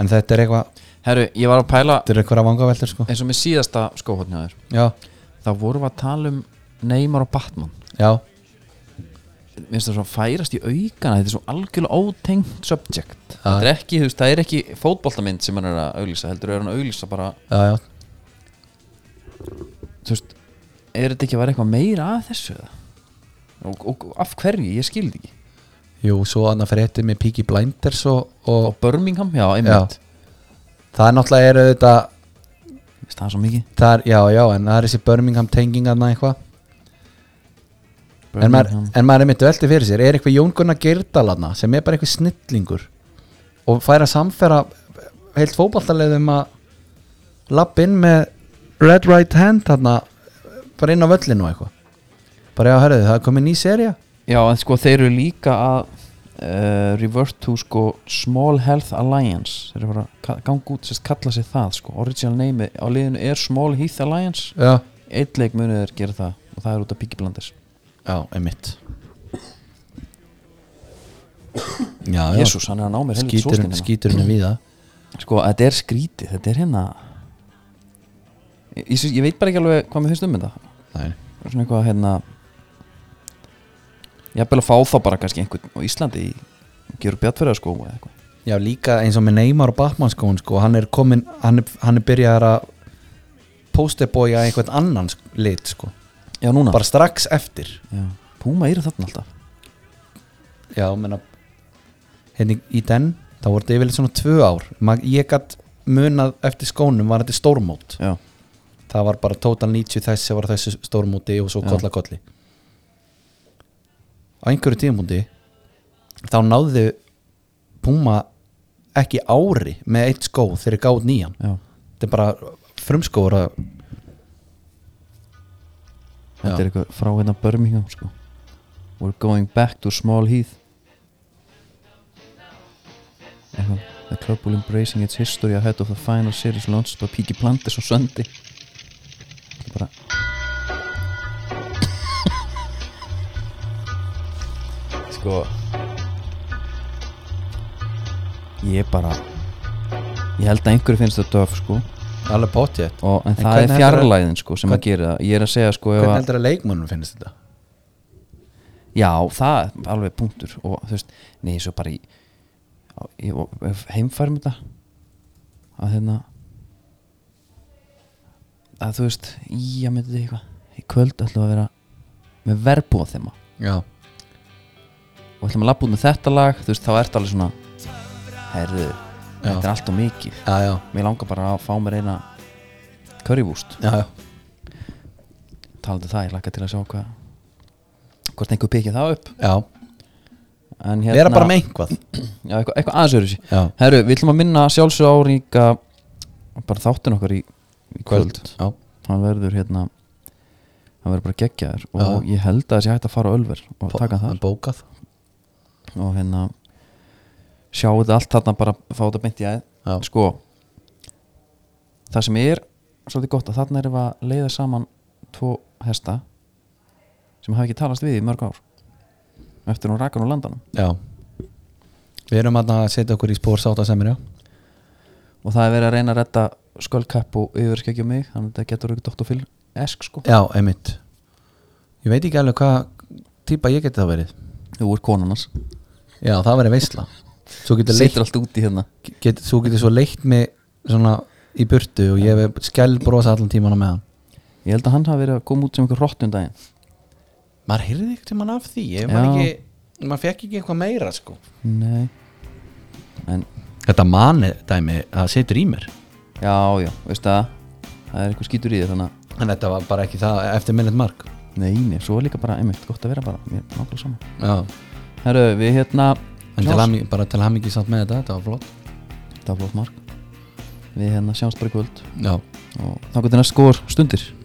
en þetta er eitthvað herru, ég var að pæla þetta er eitthvað vangaveldur sko eins og með síðasta skóhotnjáður já, þá vorum við að tala um Neymar og Batman já, Mér finnst það svo að færast í aukana þetta er svo algjörlega ótengt subject Já. þetta er ekki, þú veist, það er ekki fótboltamind sem hann er að auglýsa, heldur er hann að auglýsa bara já, já þú veist, er þetta ekki að vera eitthvað meira að þessu eða? og, og af hverju, ég skildi ekki jú, svo annað fyrir eftir með Peaky Blinders og, og og Birmingham, já, einmitt það er náttúrulega er þetta Mér finnst það svo mikið það er, já, já, en það er þessi Birmingham tengingarna eitthvað en maður, Birmingham. en maður er mitt veldi fyrir sér er eitthvað Jón Gunnar Gerdalanna sem er bara eitthvað snillingur og fær að samfæra heilt fótballtalegðum að lapp inn með red right hand þarna bara inn á völlinu og eitthvað bara já, herruðu, það er komið ný seria Já, en sko þeir eru líka að uh, revert to sko Small Health Alliance þeir eru bara að ka- ganga út, sérst kalla sér það sko, original name á liðinu er Small Health Alliance já, eitt leik munið þeir gera það og það er út af Piggy Blanders já, einmitt já, já, Jésús, hann er að ná mér helviti skíturinn sóstinn skítur. skíturinn er víða sko, þetta er skrítið, þetta er hérna ég, ég, syns- ég veit bara ekki alveg hvað mér finnst um þetta Nei. svona eitthvað hérna ég er bara að fá þá bara kannski einhvern á Íslandi í gerur bjartverða sko eða eitthvað Já, líka eins og með Neymar og Batman skóin sko, hann er komin, hann er, hann er byrjaðar að posterbója einhvern annan sk- lit sko, Já, núna bara strax eftir Já. Púma eru þarna alltaf Já, menna hérna í den, þá voru þetta yfirleitt svona tvö ár, Ma, ég gatt munað eftir skónum var þetta stórmót Já, það var bara total 90 þessi var þessi stórmóti og svo Já. kolla kolli á einhverju tíðmúti þá náðu Puma ekki ári með eitt skó þegar gáð nýjan já þetta er bara frumskóður að Þetta Já. er eitthvað frá hérna Birmingham sko. We're going back to small heath eitthvað The club will embracing its history ahead of the final series launched by Peaky Blinders on Sunday Þetta er bara Sko Ég bara Ég held að einhverju finnst þetta döf sko alveg potjett og, En, En það hvernig er heldurðu- fjarlæðin sko sem hvern- að gera það Ég er að segja sko ef hvernig að- heldur að leikmannum finnst þetta? Já, það er alveg punktur og þú veist, nei, svo bara í, á- í og- ef heimfærum þetta að hérna að þú veist, í að myndi þetta eitthvað í kvöld ætlum við að vera með verbúða þeim og já, ætlum að labba út með þetta lag þú veist, þá ertu alveg svona herðu, Já. þetta er allt og mikið já, já, mér langar bara að fá mér eina currywurst, já, já. talandi um það, ég laka til að sjá hvað hvort einhver byggja það upp já. en Hérna, vera bara með einhvað já, eitthvað, eitthvað aðeins öðru Já. Herru, við ætlum að minna sjálfsög áríka bara þáttin okkar í, í kvöld. já, hann verður hérna hann verður bara geggjaður og Já. ég held að það sé hægt að fara á Ölver og taka Bo- það bókað og hérna sjáu þetta allt þarna bara fá þetta beint í Já. aðeins sko það sem er svolítið gott að þarna erum við að leiða saman tvo hesta sem hafa ekki talast við í mörg ár eftir hún rakan úr landanum já við erum þarna að setja okkur í spór sáta semir já og það er verið að reyna að redda sköldkapp og yfirskegja mig þannig að þetta getur ekki Dr. Phil esk sko já, einmitt ég veit ekki alveg hvað típa ég geti það verið þú er konunars, já, það verið veisla svo getur leitt situr allt úti hérna get, þú getur svo leitt mig svona í burtu og ég hef skell brosa allan tímana með hann ég held að hann hafi verið að koma út sem einhver rottun daginn maður heyrði ekkert um hann af því Ef maður maður fekk ekki eitthvað meira sko nei en þetta mani dæmi, það setur í mér já já, veist það það er eitthvað skítur í þér þannig að en þetta var bara ekki það eftir minnett mark nei, nei, svo er líka bara einmitt gott að vera bara mér er nákvæmlega saman já, herru, við hérna en til Klárs. ham, bara til ham ekki samt með þetta, þetta var flott það var flott mark við hérna sjáumst bara í kvöld já, og þá getur næst skor stundir